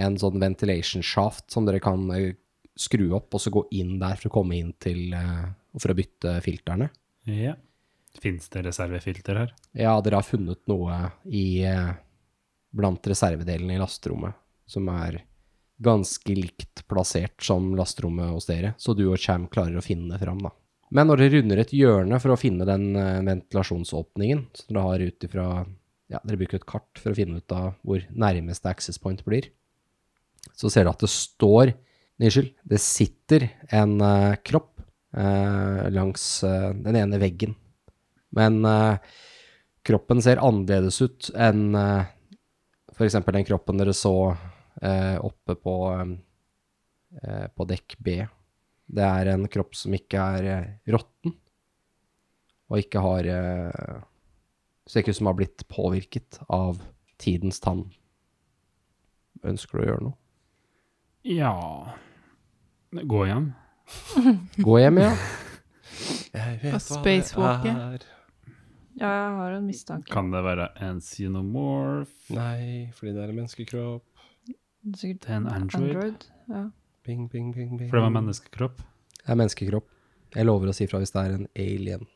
S2: en sånn ventilation shaft som dere kan eh, skru opp, og så gå inn der for å komme inn til eh, For å bytte filterne.
S6: Ja. Fins det reservefilter her?
S2: Ja, dere har funnet noe i eh, blant reservedelene i lasterommet, som er ganske likt plassert som lasterommet hos dere, så du og Cham klarer å finne det fram, da. Men når dere runder et hjørne for å finne den eh, ventilasjonsåpningen, som dere har ut ifra Ja, dere bruker et kart for å finne ut av hvor nærmeste access point blir, så ser du at det står Unnskyld, det sitter en eh, kropp eh, langs eh, den ene veggen. Men eh, kroppen ser annerledes ut enn eh, for eksempel den kroppen dere så eh, oppe på, eh, på dekk B. Det er en kropp som ikke er eh, råtten, og ikke har eh, Ser ikke ut som har blitt påvirket av tidens tann. Ønsker du å gjøre noe?
S6: Ja Gå igjen.
S2: Gå hjem, ja.
S1: Jeg vet
S4: Og
S1: hva
S4: spacewalk,
S1: det
S4: ja.
S1: er.
S3: Ja, jeg har en mistanke.
S6: Kan det være en xenomorph?
S1: Nei, fordi det er en menneskekropp.
S3: Det er Sikkert
S6: Det er en android?
S3: Android. Ja.
S1: Bing, bing, bing, bing.
S6: For det var menneskekropp?
S2: Det er menneskekropp. Jeg lover å si fra hvis det er en alien.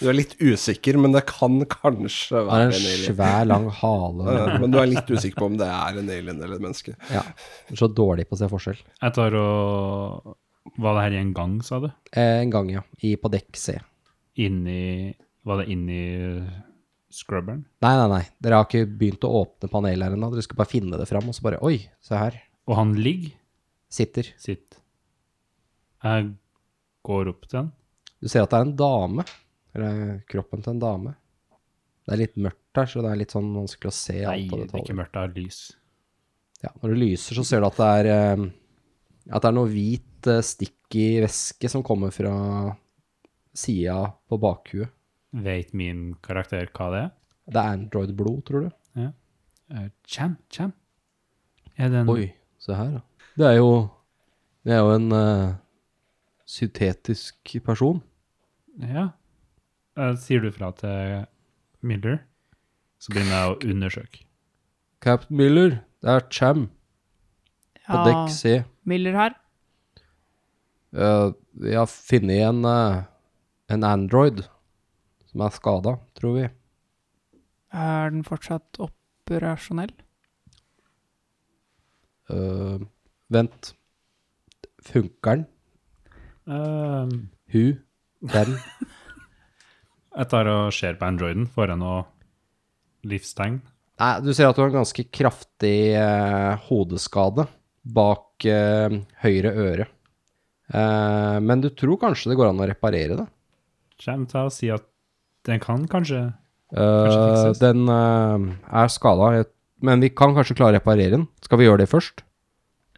S1: Du er litt usikker, men det kan kanskje
S2: Det er
S1: være
S2: en
S1: en alien.
S2: svær, lang hale.
S1: Ja, ja,
S2: med-
S1: Men du er litt usikker på om det er en alien eller et menneske.
S2: Ja. Du er så dårlig på å se forskjell.
S6: Jeg tar og Var det her i en gang, sa du?
S2: Eh, En gang, ja. I, på dekk C.
S6: Inni Var det inni scrubberen?
S2: Nei, nei, nei. Dere har ikke begynt å åpne panelet her ennå. Dere skal bare finne det fram, og så bare Oi, se her.
S6: Og han ligger
S2: Sitter.
S6: sitt. Jeg går opp til han.
S2: Du ser at det er en dame. Eller eh, kroppen til en dame. Det er litt mørkt her, så det er litt sånn vanskelig å se
S6: Nei,
S2: alt på
S6: det er ikke
S2: detaljer.
S6: mørkt, det er lys.
S2: Ja, når du lyser, så ser du at det er eh, At det er noe hvit eh, stikk i væske som kommer fra sida på bakhuet.
S6: Vet min karakter hva det er?
S2: Det er Android-blod, tror du?
S6: Eh, Cham, Cham. Er det en
S2: Oi, se her, da. Det er jo Det er jo en eh, syntetisk person.
S6: Ja. Eh, Sier du fra til Miller, så begynner jeg å undersøke.
S2: Captain Miller, det er Cham på
S4: Ja,
S2: dekk C.
S4: Miller her.
S2: Eh, vi har funnet en, eh, en Android som er skada, tror vi.
S4: Er den fortsatt operasjonell?
S2: Eh, vent. Funker den?
S6: Eh,
S2: Hun? Den?
S6: jeg tar og ser på androiden. Får jeg noe livstegn?
S2: Nei, du ser at du har en ganske kraftig eh, hodeskade bak eh, høyre øre. Eh, men du tror kanskje det går an å reparere det?
S6: Cham tar og sier at den kan kanskje
S2: Eh,
S6: fikses.
S2: den eh, er skada, men vi kan kanskje klare å reparere den. Skal vi gjøre det først?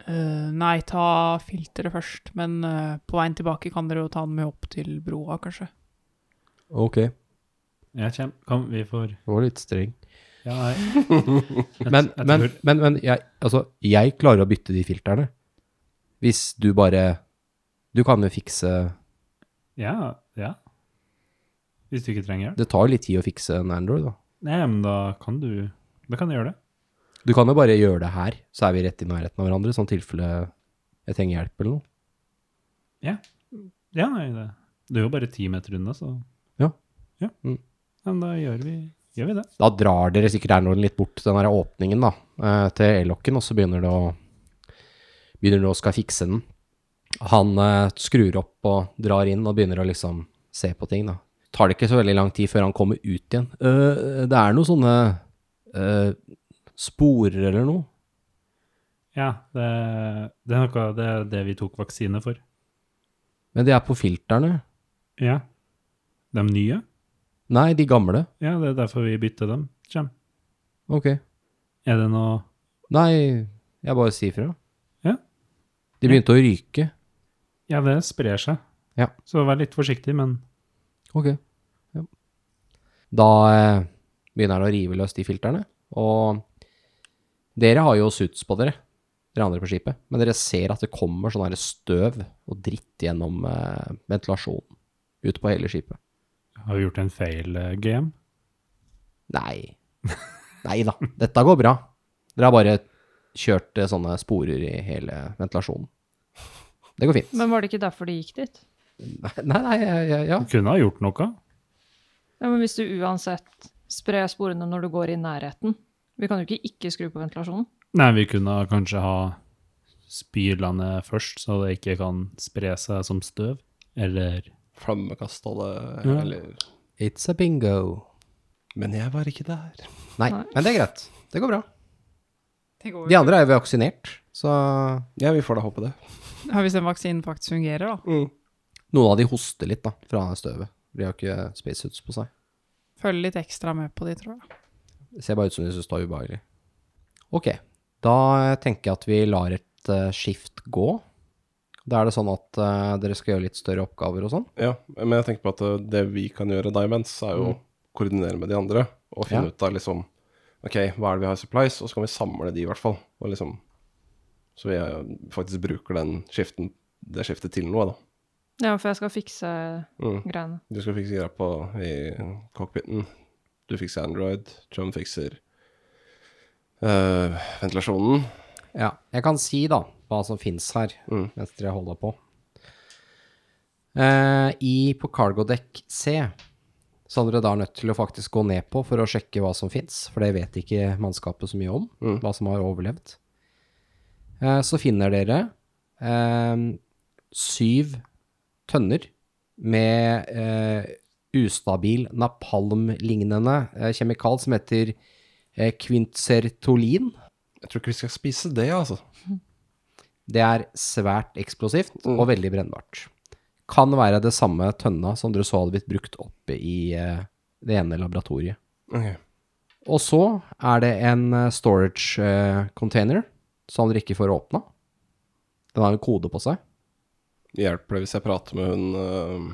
S4: Eh, nei, ta filteret først, men eh, på veien tilbake kan dere jo ta den med opp til broa, kanskje.
S2: Ok.
S6: Ja, Cham, kom, vi får
S2: Det var litt streng.
S6: Ja, nei. Jeg-
S2: Men,
S6: jeg
S2: men,
S6: tror-
S2: men, men jeg, altså, jeg klarer å bytte de filterne. Hvis du bare Du kan jo fikse
S6: Ja, ja. Hvis du ikke trenger hjelp.
S2: Det tar jo litt tid å fikse en Android, da.
S6: Nei, men da kan du Da kan du gjøre det.
S2: Du kan jo bare gjøre det her, så er vi rett i nærheten av hverandre, sånn tilfelle jeg trenger hjelp eller noe.
S6: Ja, nei, det, det er jo bare ti meter unna, så
S2: Ja.
S6: Ja.
S2: Mm.
S6: Ja, Men da gjør vi, gjør vi det.
S2: Da drar dere sikkert Androiden litt bort til den her åpningen da, eh, til ellokken, og så begynner det å begynner det å skal fikse den. Han eh, skrur opp og drar inn og begynner å liksom se på ting da. Tar det ikke så veldig lang tid før han kommer ut igjen. Eh, det er noen sånne eh, sporer eller noe.
S6: Ja, det, det er noe Det er det vi tok vaksine for.
S2: Men de er på filterne.
S6: Ja. De nye?
S2: Nei, de gamle.
S6: Ja, det er derfor vi bytter dem. Kjem.
S2: Ok.
S6: Er det noe
S2: Nei, jeg bare sier fra.
S6: Ja.
S2: De begynte å ryke.
S6: Ja, det sprer seg.
S2: Ja.
S6: Så vær litt forsiktig, men
S2: Ok. Ja. Da eh, begynner han å rive løs de filterne, og dere har jo suits på dere, dere andre på skipet, men dere ser at det kommer sånn her støv og dritt gjennom eh, ventilasjonen ute på hele skipet.
S6: har vi gjort en feil eh, GM?
S2: Nei. Nei da, dette går bra. Dere har bare kjørt eh, sånne sporer i hele ventilasjonen. Det går fint.
S3: Men var det ikke derfor de gikk dit?
S2: Nei, nei, ja, ja, ja.
S6: Du kunne ha gjort noe.
S3: Ja, men hvis du uansett sprer sporene når du går i nærheten Vi kan jo ikke ikke skru på ventilasjonen.
S6: Nei, vi kunne ha kanskje ha spylene først, så det ikke kan spre seg som støv. Eller
S1: Flammekast og det,
S6: Ja.
S1: eller
S2: It's a bingo.
S1: Men jeg var ikke der.
S2: Nei,
S3: Nei.
S2: men det er greit. Det går bra.
S4: Det går
S2: De andre er jo vaksinert, så
S1: Ja, vi får da håpe det.
S4: Ja, hvis den vaksinen faktisk fungerer, da.
S2: noen av de hoster litt da, fra støvet. De har jo ikke spacesuits på seg.
S4: Følg litt ekstra med på de, tror jeg.
S2: Det ser bare ut som de synes det er ubehagelig. Ok, da tenker jeg at vi lar et eh, skift gå. Da er det sånn at eh, dere skal gjøre litt større oppgaver og sånn.
S1: Ja, men jeg tenker på at uh, det vi kan gjøre da imens, er jo å koordinere med de andre og finne
S2: Ja.
S1: ut av liksom Ok, hva er det vi har i supplies, og så kan vi samle de, i hvert fall. Og liksom Så vi uh, faktisk bruker den skiften, det skiftet til noe, da.
S3: Ja, for jeg skal fikse
S1: Mm.
S3: greiene.
S1: Du skal fikse greia på i cockpiten. Du fikser Android. John fikser uh, ventilasjonen.
S2: Ja, jeg kan si da hva som finnes her,
S1: Mm.
S2: mens dere holder på. Eh, i, på cargo deck C, så er dere da nødt til å faktisk gå ned på for å sjekke hva som finnes, for det vet ikke mannskapet så mye om,
S1: Mm.
S2: hva som har overlevd. Eh, så finner dere eh, syv tønner med eh, ustabil napalm-lignende eh, kjemikal som heter eh, kvintsertolin.
S1: Jeg tror ikke vi skal spise det, altså.
S2: Det er svært eksplosivt og veldig brennbart. Kan være det samme tønna som dere så hadde blitt brukt oppe i eh, det ene laboratoriet.
S1: Ok.
S2: Og så er det en eh, storage eh, container som dere ikke får åpna. Den har en kode på seg.
S1: Hjelper det hvis jeg prater med hun øh,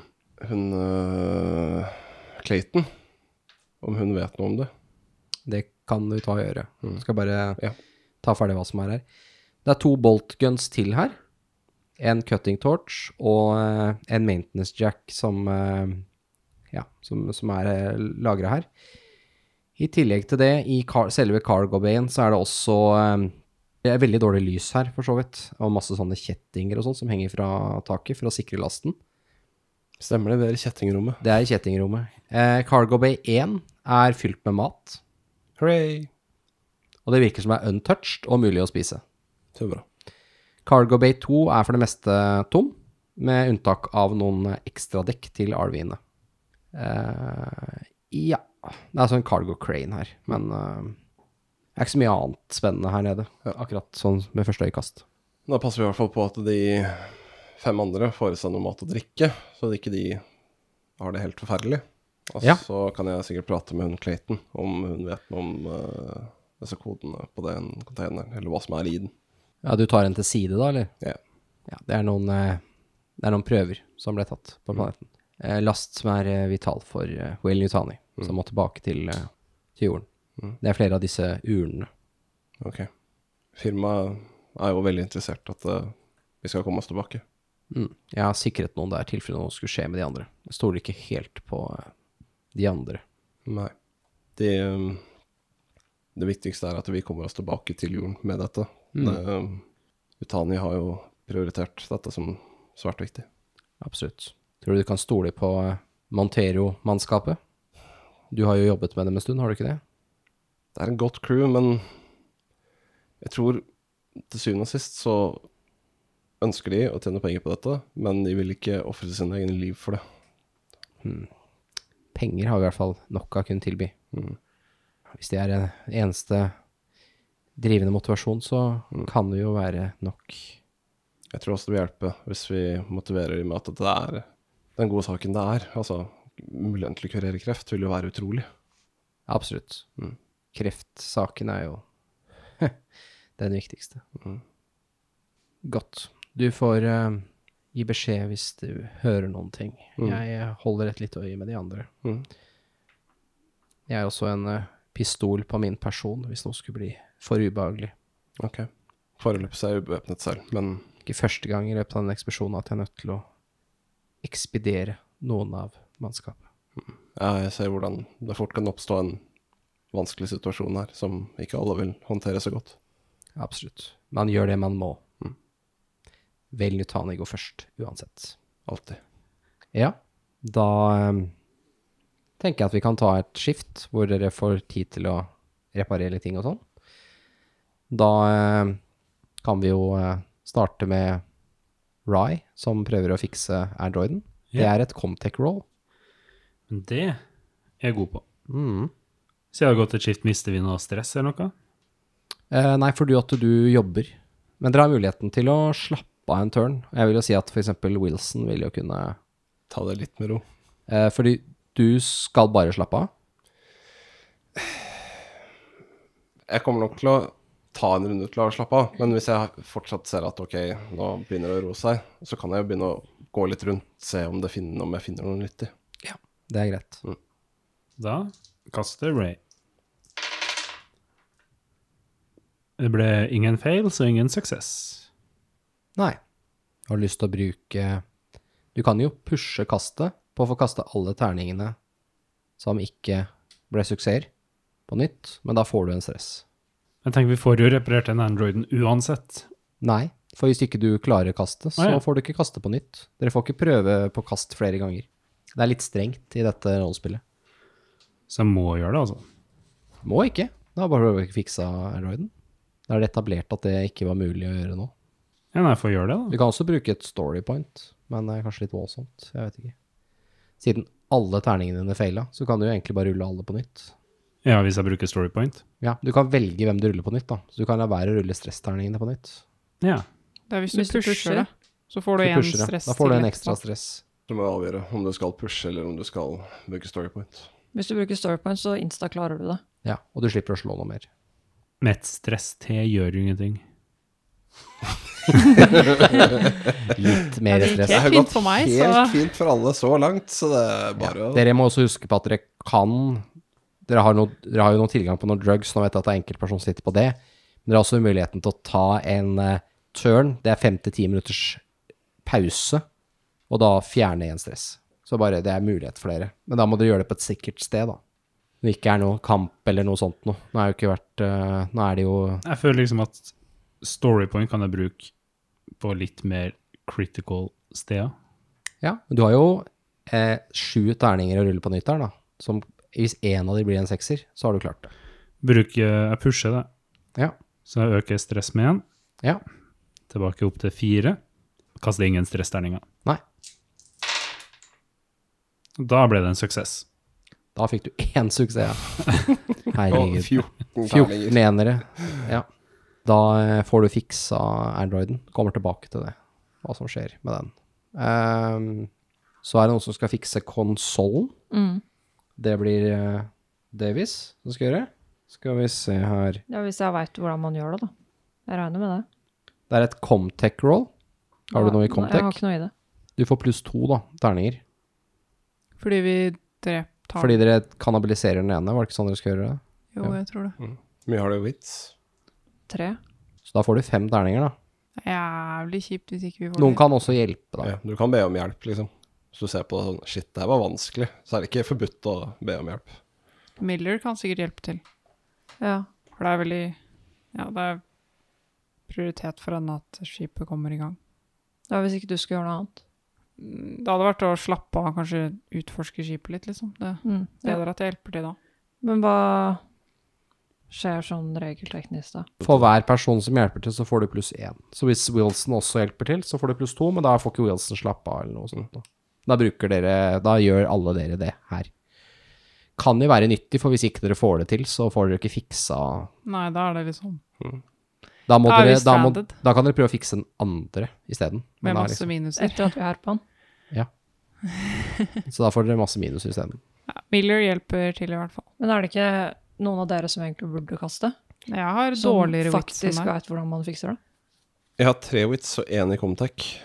S1: Hun øh, Clayton? Om hun vet noe om det?
S2: Det kan du ta og gjøre. Du skal bare
S1: Ja.
S2: ta ferdig hva som er her. Det er to boltguns til her. En cutting torch og eh, en maintenance jack som, eh, ja, som, som er lagra her. I tillegg til det, i car selve cargo bayen, så er det også eh, det er veldig dårlig lys her, for så vidt. Og masse sånne kjettinger og sånn som henger fra taket for å sikre lasten.
S1: Stemmer det, det er i kjettingrommet.
S2: Det er i kjettingrommet. Eh, cargo bay 1 er fylt med mat.
S1: Hooray!
S2: Og det virker som er untouched og mulig å spise.
S1: Så bra.
S2: Cargo Bay 2 er for det meste tom, med unntak av noen ekstradekk til RV-ene. Eh, ja. Det er sånn cargo crane her, men eh, det er ikke så mye annet spennende her nede. Akkurat sånn med første øyekast.
S1: Da passer vi i hvert fall på at de fem andre får i seg noe mat og drikke, så ikke de har det helt forferdelig. Og
S2: Ja.
S1: så kan jeg sikkert prate med hun Clayton om hun vet noe om øh, disse kodene på den containeren, eller hva som er i den.
S2: Ja, du tar en til side da, eller?
S1: Ja.
S2: Ja, det er noen, eh, det er noen prøver som ble tatt på planeten. Eh, last som er eh, vital for eh, Will Yutani, som må tilbake til, eh, til jorden. Det er flere av disse urnene.
S1: Ok. Firmaet er jo veldig interessert at øh, vi skal komme oss tilbake.
S2: Mm. Jeg har sikret noen der i tilfelle noe skulle skje med de andre. Jeg stoler ikke helt på eh, de andre.
S1: Nei. Det, um, det viktigste er at vi kommer oss tilbake til jorden med dette. Det, um, Utani har jo prioritert dette som svært viktig.
S2: Absolutt. Tror du du kan stole på eh, Montero-mannskapet? Du har jo jobbet med dem en stund, har du ikke det?
S1: Det er en godt crew, men jeg tror til syvende og sist så ønsker de å tjene penger på dette, men de vil ikke ofre sine egne liv for det.
S2: Penger har vi i hvert fall nok av å kunne tilby. Hvis det er en eneste drivende motivasjon, så kan det jo være nok.
S1: Jeg tror også det vil hjelpe hvis vi motiverer dem med at det er den gode saken det er. Altså, muligheten til å kurere kreft vil jo være utrolig.
S2: Absolutt. Kreftsaken er jo den viktigste. Godt. Du får eh, gi beskjed hvis du hører noen ting. Jeg eh, holder et lite øye med de andre.
S1: Mm.
S2: Jeg har også en eh, pistol på min person hvis noe skulle bli for ubehagelig.
S1: Ok. Foreløpig så er jeg ubevæpnet selv, men
S2: Ikke første gang i løpet av den ekspedisjonen at jeg er nødt til å ekspedere noen av mannskapet.
S1: Jeg ser hvordan det fort kan oppstå en vanskelig situasjon her, som ikke alle vil håndtere så godt.
S2: Absolutt. Man gjør det man må. Mm. Vel Nutani går først, uansett.
S1: Alltid.
S2: Ja, da eh, tenker jeg at vi kan ta et skift hvor dere får tid til å reparere litt ting og sånn. Da eh, kan vi jo eh, starte med Rai, som prøver å fikse Androiden. Det
S6: Ja.
S2: er et Comtech roll.
S6: Men det er jeg god på. Så jeg har gått et skift, mister vi noe stress eller noe?
S2: Eh, nei, for du at du jobber. Men dere har muligheten til å slappe av en turn. Jeg vil jo si at for eksempel Wilson vil jo kunne
S1: Ta det litt med ro.
S2: eh, Fordi du skal bare slappe av.
S1: Jeg kommer nok til å ta en runde til å slappe av, men hvis jeg fortsatt ser at ok, nå begynner det å roe seg, så kan jeg jo begynne å gå litt rundt, se om, det finner, om jeg finner noe nyttig.
S2: Det er greit.
S6: Da kaster Ray. Det ble ingen fail, så ingen suksess.
S2: Nei. Har du lyst til å bruke Du kan jo pushe kastet på å få kaste alle terningene som ikke ble suksesser, på nytt, men da får du en stress.
S6: Jeg tenker vi får jo reparert den androiden uansett.
S2: Nei, for hvis ikke du klarer kastet, så
S6: Å, ja.
S2: får du ikke kaste på nytt. Dere får ikke prøve på kast flere ganger. Det er litt strengt i dette rollespillet.
S6: Så jeg må gjøre det, altså.
S2: Må ikke. Da bare har du ikke fiksa androiden. Da er det etablert at det ikke var mulig å gjøre nå.
S6: Ja, nei, jeg får gjøre
S2: Du
S6: det, da.
S2: kan også bruke et story point, men det er kanskje litt voldsomt. Jeg vet ikke. Siden alle terningene dine feila, så kan du jo egentlig bare rulle alle på nytt.
S6: Ja, hvis jeg bruker storypoint.
S2: Ja, Du kan velge hvem du ruller på nytt, da. Så du kan la være å rulle stressterningene på nytt.
S6: Ja.
S4: Det er hvis,
S3: Hvis
S4: du
S3: du
S4: pusher,
S3: pusher.
S4: det. Så får du,
S2: Du
S4: en
S2: pusher, ja.
S4: stress
S2: Da får du
S4: til
S2: en ekstra stress.
S1: Så må jeg avgjøre om du skal pushe, eller om du skal bruke storypoint.
S3: Hvis du bruker storypoint, så insta-klarer du det.
S2: Ja, Og du slipper å slå noe mer.
S6: Med et stress til gjør jo ingenting.
S2: Litt mer
S4: det gikk
S2: stress.
S4: helt
S1: har
S4: fint
S1: gått
S4: for meg,
S1: helt
S4: så-
S1: fint for alle så langt, så det er bare å
S2: Dere må også huske på at dere kan Dere har, noe, dere har jo noen tilgang på noen drugs, nå vet jeg at det er enkeltperson som sitter på det. Men dere har også muligheten til å ta en eh, turn. Det er fem til ti minutters pause, og da fjerne en stress. Så bare det er mulighet for dere. Men da må dere gjøre det på et sikkert sted, da. Når det ikke er noe kamp eller noe sånt noe. Nå er jo ikke vært eh, Nå er det jo
S6: Jeg føler liksom at storypoint kan jeg bruke på litt mer critical steder.
S2: Ja, men du har jo eh, sju terninger å rulle på nytt her, da. Som hvis én av de blir en sekser, så har du klart det.
S6: Bruker, jeg pusher det,
S2: Ja.
S6: så jeg øker stress med en.
S2: Ja.
S6: Tilbake opp til fire. Kaster ingen stressterninger.
S2: Nei.
S6: Da ble det en suksess.
S2: Da fikk du én suksess. ja.
S1: Og
S2: Herregud.
S1: 14 terninger.
S2: 14 enere. Ja. Da eh, får du fiksa androiden. Kommer tilbake til det, hva som skjer med den. Ehm, så er det noen som skal fikse konsollen. Det blir eh, Davies som skal gjøre. Skal vi se her
S3: Ja, Hvis jeg veit hvordan man gjør det, da. Jeg regner med det.
S2: Det er et Comtech roll. Har du noe i
S3: Nei, Jeg har
S2: Comtech?
S3: ikke noe i det.
S2: Du får pluss to, da. Terninger.
S4: Fordi vi drep tar
S2: Fordi dere kannibaliserer den ene, var det ikke sånn dere skulle gjøre det?
S4: Jo, jeg tror det.
S1: Mye har det jo vits.
S3: Tre.
S2: Så da får du fem terninger, da.
S4: Det er Jævlig kjipt hvis ikke vi får
S2: Noen kan også hjelpe, da.
S1: Ja, du kan be om hjelp, liksom. Hvis du ser på det sånn Shit, det her var vanskelig. Så er det ikke forbudt å be om hjelp.
S4: det. Miller kan sikkert hjelpe til.
S3: Ja.
S4: For det er veldig Ja, det er prioritet for henne at skipet kommer i gang.
S3: ja, Hvis ikke du skulle gjøre noe annet.
S4: Det hadde vært å slappe av, kanskje utforske skipet litt, liksom. Det er
S3: Mm, ja.
S4: bedre at jeg hjelper til da.
S3: Men hva skjer sånn regelteknisk, da?
S2: For hver person som hjelper til, så får du pluss én. Så hvis Wilson også hjelper til, så får du pluss to, men da får ikke Wilson slappe av eller noe sånt. Da, da bruker dere Da gjør alle dere det her. Kan jo være nyttig, for hvis ikke dere får det til, så får dere ikke fiksa
S4: Nei, da er det liksom
S2: Da, må
S4: Da er vi
S2: dere, da, må,
S4: stranded.
S2: da kan dere prøve å fikse den andre isteden. Men
S4: med
S2: da er
S1: liksom-
S4: masse minuser.
S3: Etter at vi er på han?
S2: liksom- Så da får dere masse minuser isteden.
S4: Ja, Miller hjelper til, i hvert fall.
S3: Men er det ikke noen av dere som egentlig burde kaste?
S4: Jeg har
S3: Som
S4: dårligere vits enn
S3: faktisk
S4: deg.
S3: veit hvordan man fikser det?
S1: Jeg har tre wits og én i Comtech.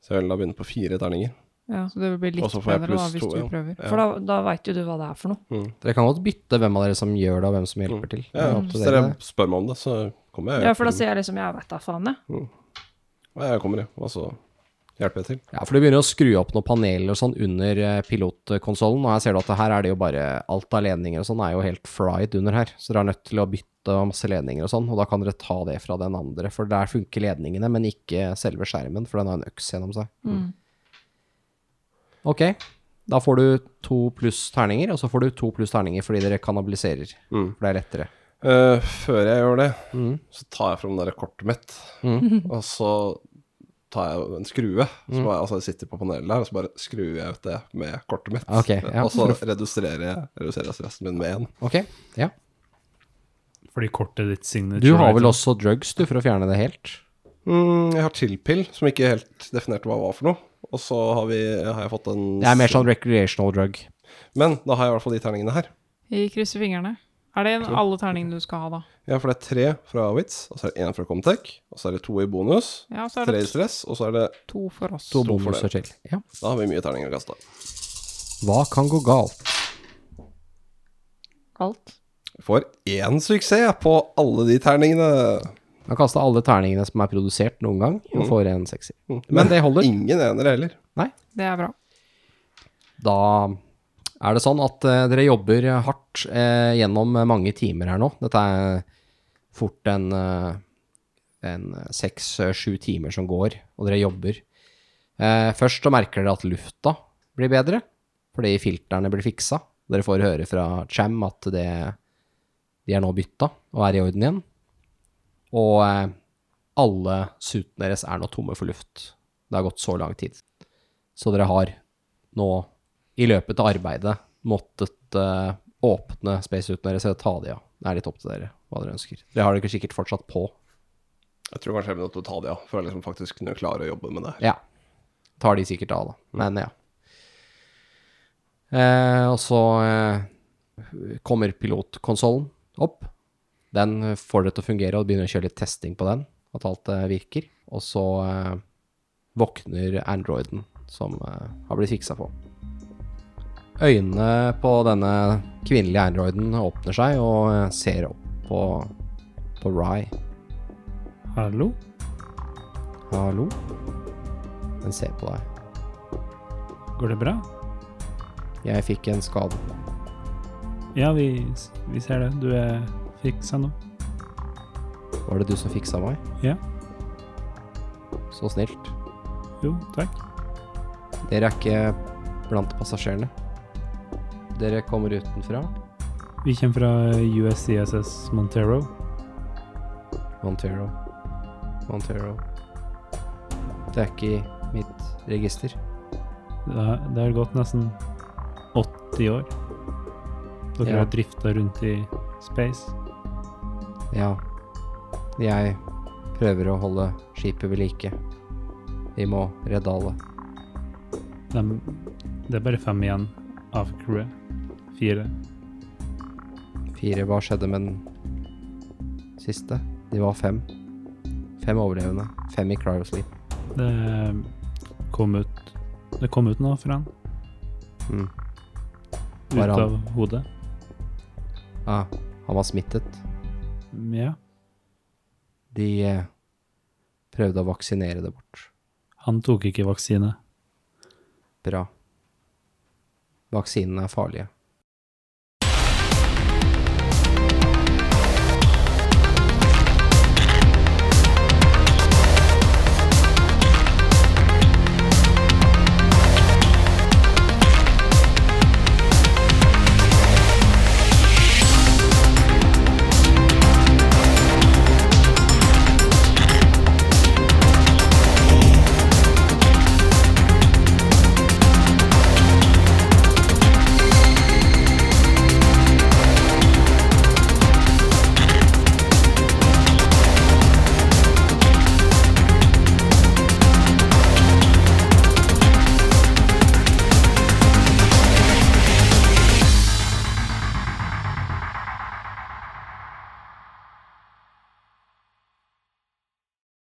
S1: Så jeg vil da begynne på fire terninger.
S4: Så det blir
S1: Og
S4: litt
S1: så får jeg
S4: bedre da,
S1: pluss
S4: hvis
S1: to,
S4: du
S1: ja.
S4: prøver.
S1: Ja.
S3: For da, da veit jo du hva det er for noe.
S2: Dere kan godt bytte hvem av dere som gjør det, og hvem som hjelper til. Mm. Det
S1: Ja,
S2: er opp til
S1: hvis
S2: dere.
S1: dere spør meg om det, så kommer jeg.
S3: Ja, For da sier jeg liksom 'jeg veit da faen', jeg.
S1: Ja, jeg kommer, jeg. Og så Hjelper jeg til?
S2: Ja, for du begynner å skru opp noen paneler og sånn under eh, pilotkonsollen, og her ser du at det her er det jo bare alt av ledninger og sånn er jo helt fried under her, så dere er nødt til å bytte og masse ledninger og sånn, og da kan dere ta det fra den andre, for der funker ledningene, men ikke selve skjermen, for den har en øks gjennom seg. Ok, da får du to pluss terninger, og så får du to pluss terninger fordi dere kanaliserer,
S1: Mm.
S2: for det er lettere.
S1: Eh, før jeg gjør det, så tar jeg fram det der kortet mitt, og så tar jeg en skrue, så bare, altså jeg sitter på panelet der, og så bare skrur jeg ut det med kortet mitt.
S2: Ok, ja.
S1: Og så reduserer jeg, reduserer jeg stressen min med én.
S2: Ok, ja.
S6: Fordi kortet ditt signature
S2: Du har vel
S6: item.
S2: også drugs, du, for å fjerne det helt?
S1: Mm, jeg har chillpill, som ikke helt definerte hva var for noe. Og så har, vi, har jeg fått en
S2: Det er mer sånn recreational drug.
S1: Men da har jeg i hvert fall de terningene her.
S4: Vi krysser fingrene. Er det en, alle terningene du skal ha, da?
S1: Ja, for det er tre fra Witz, og så er det én fra Comtech, og så er det to i bonus,
S4: Ja, så er
S1: tre i
S4: det
S1: stress, og så er det
S4: to for oss.
S2: To
S1: for
S2: bonuser
S1: det.
S2: til. Ja.
S1: Da har vi mye terninger å kaste.
S2: Hva kan gå galt?
S3: Alt.
S1: Jeg Får én suksess på alle de terningene.
S2: Han kasta alle terningene som er produsert noen gang, og får en sekser. Men det holder.
S1: Ingen enere heller.
S2: Nei.
S4: Det er bra.
S2: Da er det sånn at eh, dere jobber hardt eh, gjennom mange timer her nå. Dette er fort en, eh, en seks-sju timer som går, og dere jobber. Eh, først så merker dere at lufta blir bedre, fordi filterne blir fiksa. Dere får høre fra Cham at det, de er nå bytta og er i orden igjen. Og eh, alle suitene deres er nå tomme for luft. Det har gått så lang tid. Så dere har nå, i løpet av arbeidet, måttet eh, åpne spacesuitene deres eller ta de av. Det er litt opp til dere hva dere ønsker. Det har dere sikkert fortsatt på.
S1: Jeg tror kanskje jeg begynner å ta det, ja. For jeg liksom faktisk kunne klare å jobbe med det. her.
S2: Ja. Tar de sikkert av, da. Men ja. Eh, og så eh, kommer pilotkonsollen opp. Den får det til å fungere, og begynner å kjøre litt testing på den. At alt eh, virker. Og så eh, våkner androiden som eh, har blitt fiksa på. Øynene på denne kvinnelige androiden åpner seg og eh, ser opp på, på Rye.
S6: Hallo?
S2: Hallo? Den ser på deg.
S6: Går det bra?
S2: Jeg fikk en skade.
S6: Ja, vi, vi ser det. Du er fiksa nå.
S2: Var det du som fiksa meg?
S6: Ja.
S2: Så snilt.
S6: Jo, takk.
S2: Dere er ikke blant passasjerene. Dere kommer utenfra.
S6: Vi kommer fra USCSS Montero.
S2: Montero. Montero. Det er ikke i mitt register.
S6: Det har, det har gått nesten 80 år. Dere
S2: Ja.
S6: har drifta rundt i space.
S2: Ja. Jeg prøver å holde skipet ved like. Vi må redde alle.
S6: Dem- det er bare fem igjen av crewet. Fire.
S2: Fire hva skjedde med den siste? De var fem. Fem overlevende. Fem i cryosleep.
S6: Det kom ut Det kom ut noe fra han.
S2: Mm.
S6: Ut
S2: Var han-
S6: av hodet.
S2: Ah, han var smittet.
S6: Ja.
S2: De eh, prøvde å vaksinere det bort.
S6: Han tok ikke vaksine.
S2: Bra. Vaksinene er farlige.